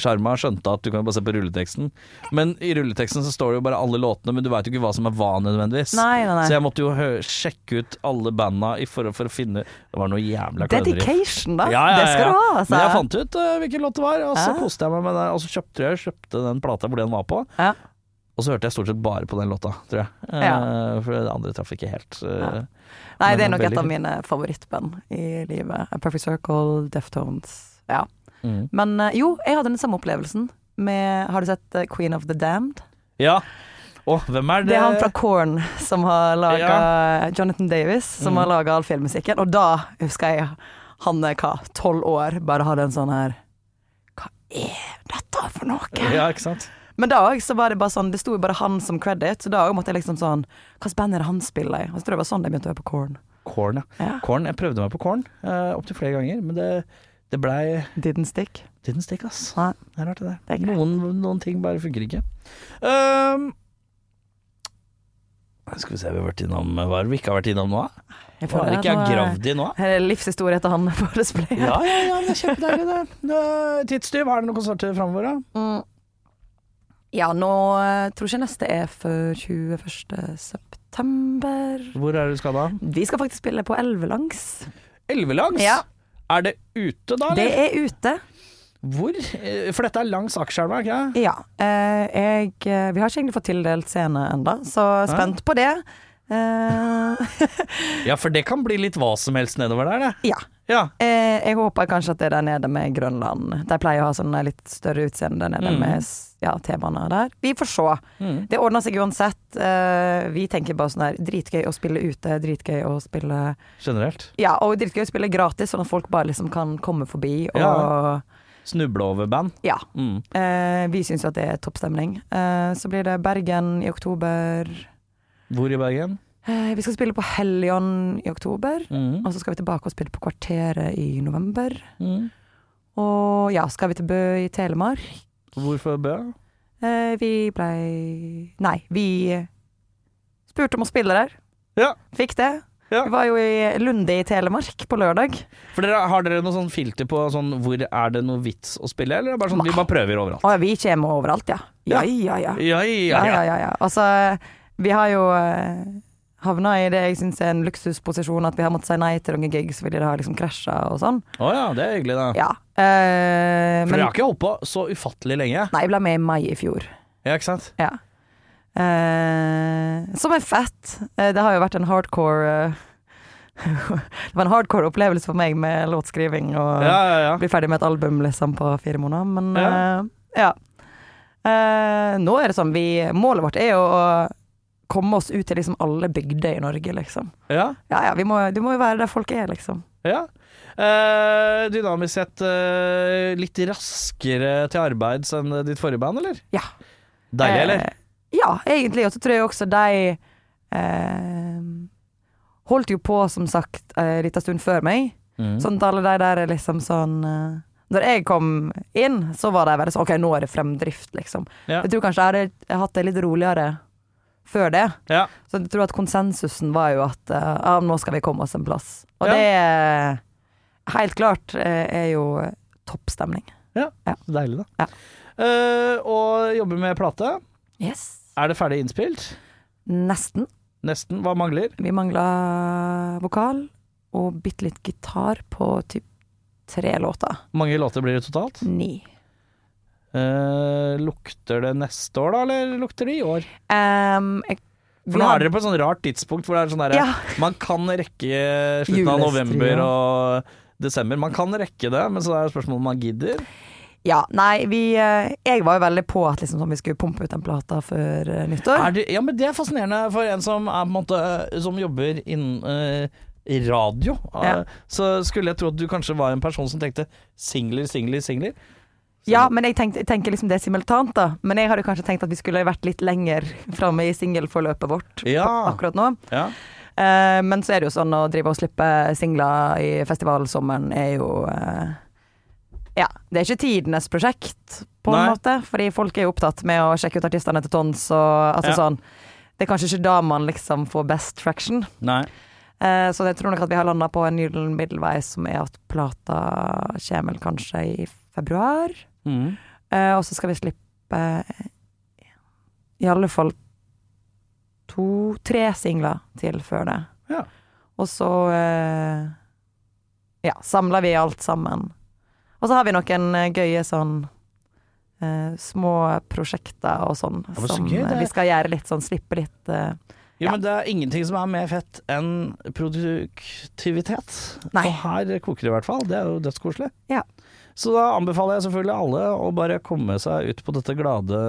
[SPEAKER 3] Sjarma skjønte at du kan bare se på rulleteksten. Men i rulleteksten så står det jo bare alle låtene, men du veit jo ikke hva som er hva nødvendigvis.
[SPEAKER 4] Nei, nei, nei.
[SPEAKER 3] Så jeg måtte jo hø sjekke ut alle banda i forhold for å finne Det var noe jævla kløneri.
[SPEAKER 4] Dedication, da.
[SPEAKER 3] Ja, ja, ja,
[SPEAKER 4] Det skal du ha,
[SPEAKER 3] ja.
[SPEAKER 4] altså.
[SPEAKER 3] Men jeg fant ut eh, hvilken låt det var, og så
[SPEAKER 4] Ja.
[SPEAKER 3] koste jeg meg med det. Og så kjøpte jeg kjøpte den plata hvor den var på.
[SPEAKER 4] Ja.
[SPEAKER 3] Og så hørte jeg stort sett bare på den låta, tror jeg. Eh,
[SPEAKER 4] Ja.
[SPEAKER 3] For det andre traff ikke helt. eh,
[SPEAKER 4] Nei,
[SPEAKER 3] Men
[SPEAKER 4] det er
[SPEAKER 3] den er
[SPEAKER 4] nok et
[SPEAKER 3] veldig
[SPEAKER 4] av
[SPEAKER 3] fin.
[SPEAKER 4] mine favorittband i livet. A Perfect Circle, Deftones. Ja.
[SPEAKER 3] Mm.
[SPEAKER 4] Men eh, jo, jeg hadde den samme opplevelsen med Har du sett eh, Queen of the Damned?
[SPEAKER 3] Ja. Og hvem er det?
[SPEAKER 4] Det er han fra Korn som har laga Jonathan Davis,
[SPEAKER 3] Mm.
[SPEAKER 4] som har laga all filmmusikken. Og da husker jeg han er hva, tolv år, bare hadde en sånn her Hva er dette for noe?
[SPEAKER 3] Ja, ikke sant.
[SPEAKER 4] Men da òg, så var det bare sånn Det sto jo bare han som credit, så da òg måtte jeg liksom sånn Hvilket band er det han spiller i? Og så tror jeg det var sånn jeg begynte å høre på Korn.
[SPEAKER 3] Korn, ja.
[SPEAKER 4] Ja.
[SPEAKER 3] Korn, Jeg prøvde meg på Korn uh, opptil flere ganger, men det, det blei
[SPEAKER 4] Didn't stick.
[SPEAKER 3] Didn't stick, ass.
[SPEAKER 4] Nei.
[SPEAKER 3] Det er rart, det
[SPEAKER 4] Det
[SPEAKER 3] der.
[SPEAKER 4] er greit.
[SPEAKER 3] Noen, noen ting bare funker ikke. Ehm, skal vi se, vi har vært innom Hva er det vi ikke har vært innom nå? da?
[SPEAKER 4] Jeg
[SPEAKER 3] Hva er det
[SPEAKER 4] at
[SPEAKER 3] ikke jeg
[SPEAKER 4] nå
[SPEAKER 3] har
[SPEAKER 4] er-
[SPEAKER 3] gravd i nå? da?
[SPEAKER 4] Her er livshistorie etter han på display.
[SPEAKER 3] Ja, ja, ja, det er kjempedeilig, det. Eh, Tidstyv, er det noen konserter framover, da?
[SPEAKER 4] Mm. Ja, nå eh, tror jeg ikke neste er før 21. september.
[SPEAKER 3] Hvor er det du skal da?
[SPEAKER 4] Vi skal faktisk spille på Elvelangs.
[SPEAKER 3] Elvelangs?
[SPEAKER 4] Ja.
[SPEAKER 3] Er det ute da,
[SPEAKER 4] Det
[SPEAKER 3] eller?
[SPEAKER 4] er ute.
[SPEAKER 3] Hvor? Eh, For dette er langs Akerselva, ikke sant?
[SPEAKER 4] Ja. eh, Jeg eh, Vi har ikke egentlig fått tildelt scene ennå, så spent på det. Eh,
[SPEAKER 3] Ja, for det kan bli litt hva som helst nedover der, det.
[SPEAKER 4] ja.
[SPEAKER 3] Ja.
[SPEAKER 4] Eh, Jeg håper kanskje at det er der nede med Grønland. De pleier å ha sånne litt større utseende der nede med s- ja, temaene der. Vi får se.
[SPEAKER 3] Mm.
[SPEAKER 4] Det ordner seg uansett. Eh, Vi tenker bare sånn her Dritgøy å spille ute, dritgøy å spille
[SPEAKER 3] Generelt.
[SPEAKER 4] Ja, og dritgøy å spille gratis, sånn at folk bare liksom kan komme forbi og
[SPEAKER 3] Ja.
[SPEAKER 4] Ja.
[SPEAKER 3] Snuble over band. Mm.
[SPEAKER 4] Eh, vi syns jo at det er toppstemning. Eh, så blir det Bergen i oktober.
[SPEAKER 3] Hvor i Bergen?
[SPEAKER 4] Eh, vi skal spille på Hellion i oktober.
[SPEAKER 3] Mm.
[SPEAKER 4] Og så skal vi tilbake og spille på Kvarteret i november.
[SPEAKER 3] Mm.
[SPEAKER 4] Og ja, skal vi til Bø i Telemark?
[SPEAKER 3] Hvorfor Bø?
[SPEAKER 4] Eh, vi blei Nei, vi spurte om å spille der.
[SPEAKER 3] Ja.
[SPEAKER 4] Fikk det.
[SPEAKER 3] Ja.
[SPEAKER 4] Vi var jo i Lunde i Telemark på lørdag.
[SPEAKER 3] For dere, Har dere noe sånn filter på sånn, hvor er det noe vits å spille, eller er det bare sånn vi bare prøver overalt?
[SPEAKER 4] Å ja, vi kommer overalt, ja. Ja, ja, ja.
[SPEAKER 3] Ja,
[SPEAKER 4] ja,
[SPEAKER 3] ja,
[SPEAKER 4] ja,
[SPEAKER 3] ja.
[SPEAKER 4] ja, ja. Altså, vi har jo eh, havna i det jeg syns er en luksusposisjon, at vi har måttet si nei til noen gigs fordi det har liksom krasja og sånn.
[SPEAKER 3] Å ja, det er hyggelig, da.
[SPEAKER 4] Ja. Eh,
[SPEAKER 3] For
[SPEAKER 4] men
[SPEAKER 3] dere har ikke holdt på så ufattelig lenge.
[SPEAKER 4] Nei, jeg ble med i mai i fjor.
[SPEAKER 3] Ja, ikke sant?
[SPEAKER 4] Ja. Eh, som er fett. Eh, det har jo vært en hardcore eh, Det var en hardcore opplevelse for meg med låtskriving og
[SPEAKER 3] Ja, ja, ja.
[SPEAKER 4] bli ferdig med et album liksom på fire måneder, men
[SPEAKER 3] Ja.
[SPEAKER 4] eh, ja. Eh, nå er det sånn vi Målet vårt er jo å komme oss ut til liksom alle bygder i Norge, liksom.
[SPEAKER 3] ja.
[SPEAKER 4] Ja ja, vi må, du må jo være der folk er, liksom.
[SPEAKER 3] ja. Eh, dynamisk sett eh, litt raskere til arbeids enn ditt forrige band, eller?
[SPEAKER 4] Ja.
[SPEAKER 3] Deilig, eller?
[SPEAKER 4] Eh, ja, egentlig. Og så tror jeg også de eh, holdt jo på, som sagt, eh, en liten stund før meg.
[SPEAKER 3] Mm.
[SPEAKER 4] Sånn at alle de der er liksom sånn eh, Når jeg kom inn, så var de veldig sånn OK, nå er det fremdrift, liksom.
[SPEAKER 3] Ja.
[SPEAKER 4] Jeg tror kanskje jeg hadde hatt det litt roligere før det.
[SPEAKER 3] Ja.
[SPEAKER 4] Så jeg tror at konsensusen var jo at eh, ja, nå skal vi komme oss en plass. Og
[SPEAKER 3] Ja.
[SPEAKER 4] det eh, helt klart eh, er jo toppstemning.
[SPEAKER 3] Ja,
[SPEAKER 4] Ja.
[SPEAKER 3] så deilig da.
[SPEAKER 4] Ja.
[SPEAKER 3] Eh, og jobber med plate.
[SPEAKER 4] Yes.
[SPEAKER 3] Er det ferdig innspilt?
[SPEAKER 4] Nesten.
[SPEAKER 3] Nesten. Hva mangler?
[SPEAKER 4] Vi mangla vokal og bitte litt gitar på typ tre låter.
[SPEAKER 3] Hvor mange låter blir det totalt?
[SPEAKER 4] Ni.
[SPEAKER 3] Eh, lukter det neste år, da, eller lukter det i år?
[SPEAKER 4] Ehm, jeg,
[SPEAKER 3] For nå er dere på et sånn rart tidspunkt hvor det er sånn derre
[SPEAKER 4] Ja.
[SPEAKER 3] Man kan rekke slutten av
[SPEAKER 4] Julestria.
[SPEAKER 3] november og desember. Man kan rekke det, men så er det spørsmålet om man gidder.
[SPEAKER 4] Ja, nei, vi eh, Jeg var jo veldig på at liksom, sånn, vi skulle pumpe ut den plata før eh, nyttår.
[SPEAKER 3] Er det, ja, men det er fascinerende for en som, er, på en måte, som jobber innen eh, radio. Eh,
[SPEAKER 4] Ja.
[SPEAKER 3] Så skulle jeg tro at du kanskje var en person som tenkte singler, singler, singler.
[SPEAKER 4] Ja, men jeg, tenkte, jeg tenker liksom det er simultant, da. Men jeg hadde kanskje tenkt at vi skulle vært litt lenger framme i singelforløpet vårt
[SPEAKER 3] Ja.
[SPEAKER 4] akkurat nå.
[SPEAKER 3] Ja.
[SPEAKER 4] Eh, men så er det jo sånn å drive og slippe singler i festivalsommeren er jo eh, Ja, det er ikke tidenes prosjekt, på en
[SPEAKER 3] Nei.
[SPEAKER 4] måte. Fordi folk er jo opptatt med å sjekke ut artistene til tons og altså
[SPEAKER 3] Ja.
[SPEAKER 4] sånn. Det er kanskje ikke da man liksom får best traction.
[SPEAKER 3] Nei.
[SPEAKER 4] Eh, så jeg tror nok at vi har landa på en gyllen middelvei, som er at plata kommer vel kanskje i februar.
[SPEAKER 3] Mm.
[SPEAKER 4] Eh, og så skal vi slippe eh, i alle fall to-tre singler til før det.
[SPEAKER 3] Ja.
[SPEAKER 4] Og så eh, ja, samler vi alt sammen. Og så har vi noen eh, gøye sånn eh, små prosjekter og sånn
[SPEAKER 3] men så
[SPEAKER 4] som
[SPEAKER 3] gøy, det
[SPEAKER 4] eh,
[SPEAKER 3] er-
[SPEAKER 4] vi skal gjøre litt sånn, slippe litt eh,
[SPEAKER 3] Jo,
[SPEAKER 4] Ja.
[SPEAKER 3] men det er ingenting som er mer fett enn produktivitet.
[SPEAKER 4] Nei.
[SPEAKER 3] Og her koker det i hvert fall. Det er jo dødskoselig.
[SPEAKER 4] Ja.
[SPEAKER 3] Så da anbefaler jeg selvfølgelig alle å bare komme seg ut på dette glade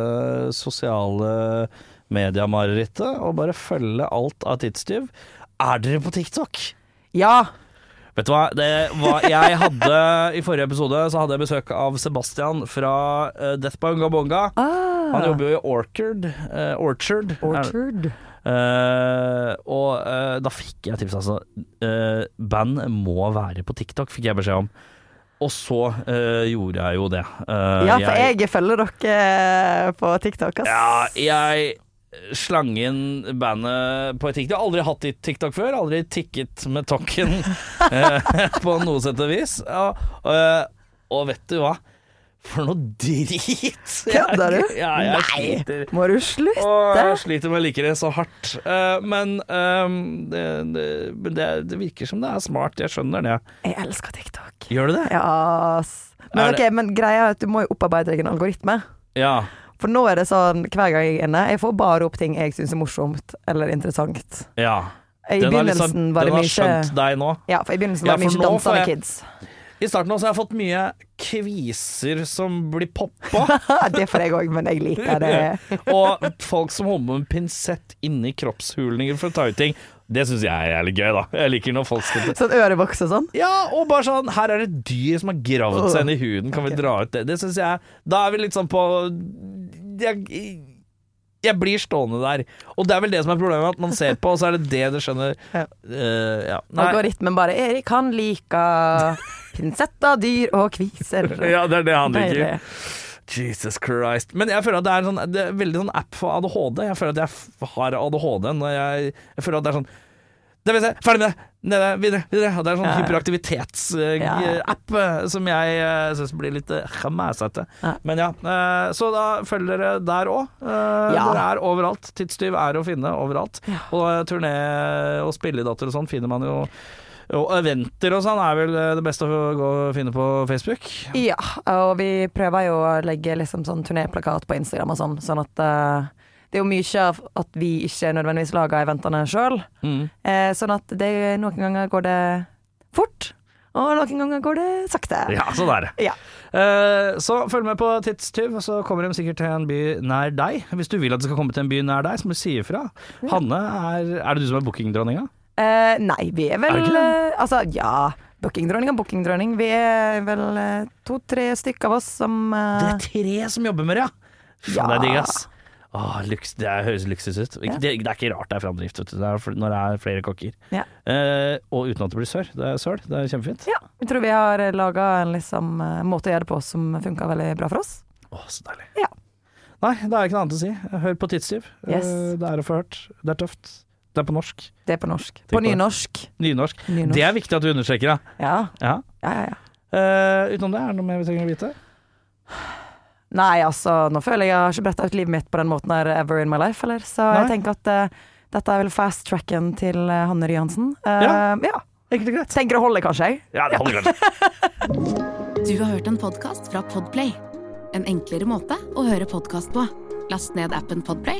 [SPEAKER 3] sosiale mediemarerittet, og bare følge alt av tidstyv. Er dere på TikTok?
[SPEAKER 4] Ja!
[SPEAKER 3] Vet du hva, det var, jeg hadde I forrige episode så hadde jeg besøk av Sebastian fra eh, Death by Ungabonga.
[SPEAKER 4] Ah.
[SPEAKER 3] Han jobber jo i Orchard. eh, Orchard. Er-
[SPEAKER 4] Orchard.
[SPEAKER 3] Eh, og eh, da fikk jeg tips, altså. Eh, band må være på TikTok, fikk jeg beskjed om. Og så eh, gjorde jeg jo det. Eh,
[SPEAKER 4] Ja, for jeg følger dere eh, på TikTok, ass.
[SPEAKER 3] ja, jeg slang inn bandet på TikTok. Jeg har aldri hatt TikTok før. Aldri tikket med tokken eh, på noe sett og vis. Ja, eh, og vet du hva? For noe drit!
[SPEAKER 4] Kødder du?
[SPEAKER 3] Jeg- Ja, jeg sliter.
[SPEAKER 4] Må du slutte?
[SPEAKER 3] Åh, jeg sliter med å like det så hardt. Eh, men ehm, det, det, men det, det virker som det er smart, jeg skjønner det.
[SPEAKER 4] Jeg elsker TikTok.
[SPEAKER 3] Gjør du det?
[SPEAKER 4] Ja, ass. Men,
[SPEAKER 3] Er det-
[SPEAKER 4] ok, men greia er at du må jo opparbeide deg en algoritme.
[SPEAKER 3] Ja.
[SPEAKER 4] For nå er det sånn hver gang jeg er inne, jeg får bare opp ting jeg syns er morsomt eller interessant.
[SPEAKER 3] ja.
[SPEAKER 4] I
[SPEAKER 3] Den har
[SPEAKER 4] begynnelsen
[SPEAKER 3] liksom-
[SPEAKER 4] var det
[SPEAKER 3] den har
[SPEAKER 4] mye
[SPEAKER 3] skjønt deg nå.
[SPEAKER 4] Ja, for i begynnelsen var
[SPEAKER 3] Ja,
[SPEAKER 4] det mye
[SPEAKER 3] for nå får
[SPEAKER 4] dansende
[SPEAKER 3] jeg-
[SPEAKER 4] kids.
[SPEAKER 3] I starten også har jeg fått mye kviser som blir poppa.
[SPEAKER 4] det får jeg òg, men jeg liker det.
[SPEAKER 3] og folk som holder på med pinsett inni kroppshulninger for å ta ut ting. Det syns jeg er litt gøy, da. Jeg liker når folk skal
[SPEAKER 4] Sånn ørevoks og sånn.
[SPEAKER 3] Ja, og bare sånn Her er det dyr som har gravd seg inn i huden, kan vi dra ut det? Det syns jeg Da er vi litt sånn på jeg, jeg blir stående der. Og det er vel det som er problemet, at man ser på, og så er det det du skjønner
[SPEAKER 4] Ja.
[SPEAKER 3] Eh, ja. Nei.
[SPEAKER 4] Algoritmen bare 'Erik, han liker pinsetter, dyr og kviser'.
[SPEAKER 3] Ja, det er det han liker.
[SPEAKER 4] Deilig.
[SPEAKER 3] Jesus Christ. Men jeg føler at det er, en sånn, det er veldig sånn app for ADHD. Jeg føler at jeg f- har ADHD når jeg Jeg føler at det er sånn det vet jeg, Ferdig med det! Nede, videre, videre. Og Det er en sånn
[SPEAKER 4] Ja. Ja.
[SPEAKER 3] hyperaktivitets-app som jeg uh, syns blir litt eh, mæsete.
[SPEAKER 4] Ja.
[SPEAKER 3] Men ja. eh, så da følger dere der òg.
[SPEAKER 4] Ja.
[SPEAKER 3] Dere er overalt. Tidstyv er å finne overalt. Og eh, turné og spilledatter og sånn finner man jo. Og eventer og sånn er vel eh, det beste å gå og finne på Facebook.
[SPEAKER 4] Ja, og vi prøver jo å legge liksom sånn turnéplakat på Instagram og sånn, sånn at eh, det er jo mye av at vi ikke nødvendigvis lager eventene sjøl.
[SPEAKER 3] Mm.
[SPEAKER 4] sånn at det, noen ganger går det fort, og noen ganger går det sakte.
[SPEAKER 3] Ja, sånn er det.
[SPEAKER 4] Ja.
[SPEAKER 3] Eh, så følg med på Tidstyv, så kommer de sikkert til en by nær deg. Hvis du vil at de skal komme til en by nær deg, så må du si ifra. Hanne, er, er det du som er bookingdronninga?
[SPEAKER 4] Eh, nei, vi er vel
[SPEAKER 3] Er det ikke
[SPEAKER 4] eh, Altså, ja. Bookingdronning og bookingdronning. Vi er vel eh, to-tre stykker av oss som
[SPEAKER 3] Det
[SPEAKER 4] eh,
[SPEAKER 3] er tre som jobber med det, ja! Fy faen, Det er digg, ass. Åh, luks, det er, høres luksus ut. Ikke,
[SPEAKER 4] Ja.
[SPEAKER 3] det, det er ikke rart det er framdrift vet du. Det er, fl- når det er flere kokker.
[SPEAKER 4] Ja.
[SPEAKER 3] Eh, og uten at det blir sør. Det er søl. Det er kjempefint.
[SPEAKER 4] ja. Vi tror vi har laga en liksom, eh, måte å gjøre det på som funker veldig bra for oss.
[SPEAKER 3] Åh, så deilig.
[SPEAKER 4] Ja.
[SPEAKER 3] Nei, det er ikke noe annet å si. Hør på Tidstyv. Eh,
[SPEAKER 4] Yes.
[SPEAKER 3] det er å få hørt. Det er tøft. Det er på norsk.
[SPEAKER 4] Det er på norsk.
[SPEAKER 3] på
[SPEAKER 4] På
[SPEAKER 3] det.
[SPEAKER 4] nynorsk.
[SPEAKER 3] Nynorsk.
[SPEAKER 4] Nynorsk.
[SPEAKER 3] Det er viktig at du understreker, ja.
[SPEAKER 4] Ja.
[SPEAKER 3] ja.
[SPEAKER 4] Ja, ja, ja.
[SPEAKER 3] Eh, utenom det, er det noe mer vi trenger å vite?
[SPEAKER 4] Nei, altså, nå føler jeg jeg har ikke bretta ut livet mitt på den måten her ever in my life, eller? Så jeg
[SPEAKER 3] Nei.
[SPEAKER 4] tenker at eh, dette er vel fast tracken til eh, Hanne Ryhansen. Eh,
[SPEAKER 3] Ja.
[SPEAKER 4] ja.
[SPEAKER 3] Egentlig greit.
[SPEAKER 4] Tenker det holder, kanskje? jeg?
[SPEAKER 3] Ja, det holder kanskje.
[SPEAKER 2] Du har hørt en podkast fra Podplay. En enklere måte å høre podkast på. Last ned appen Podplay,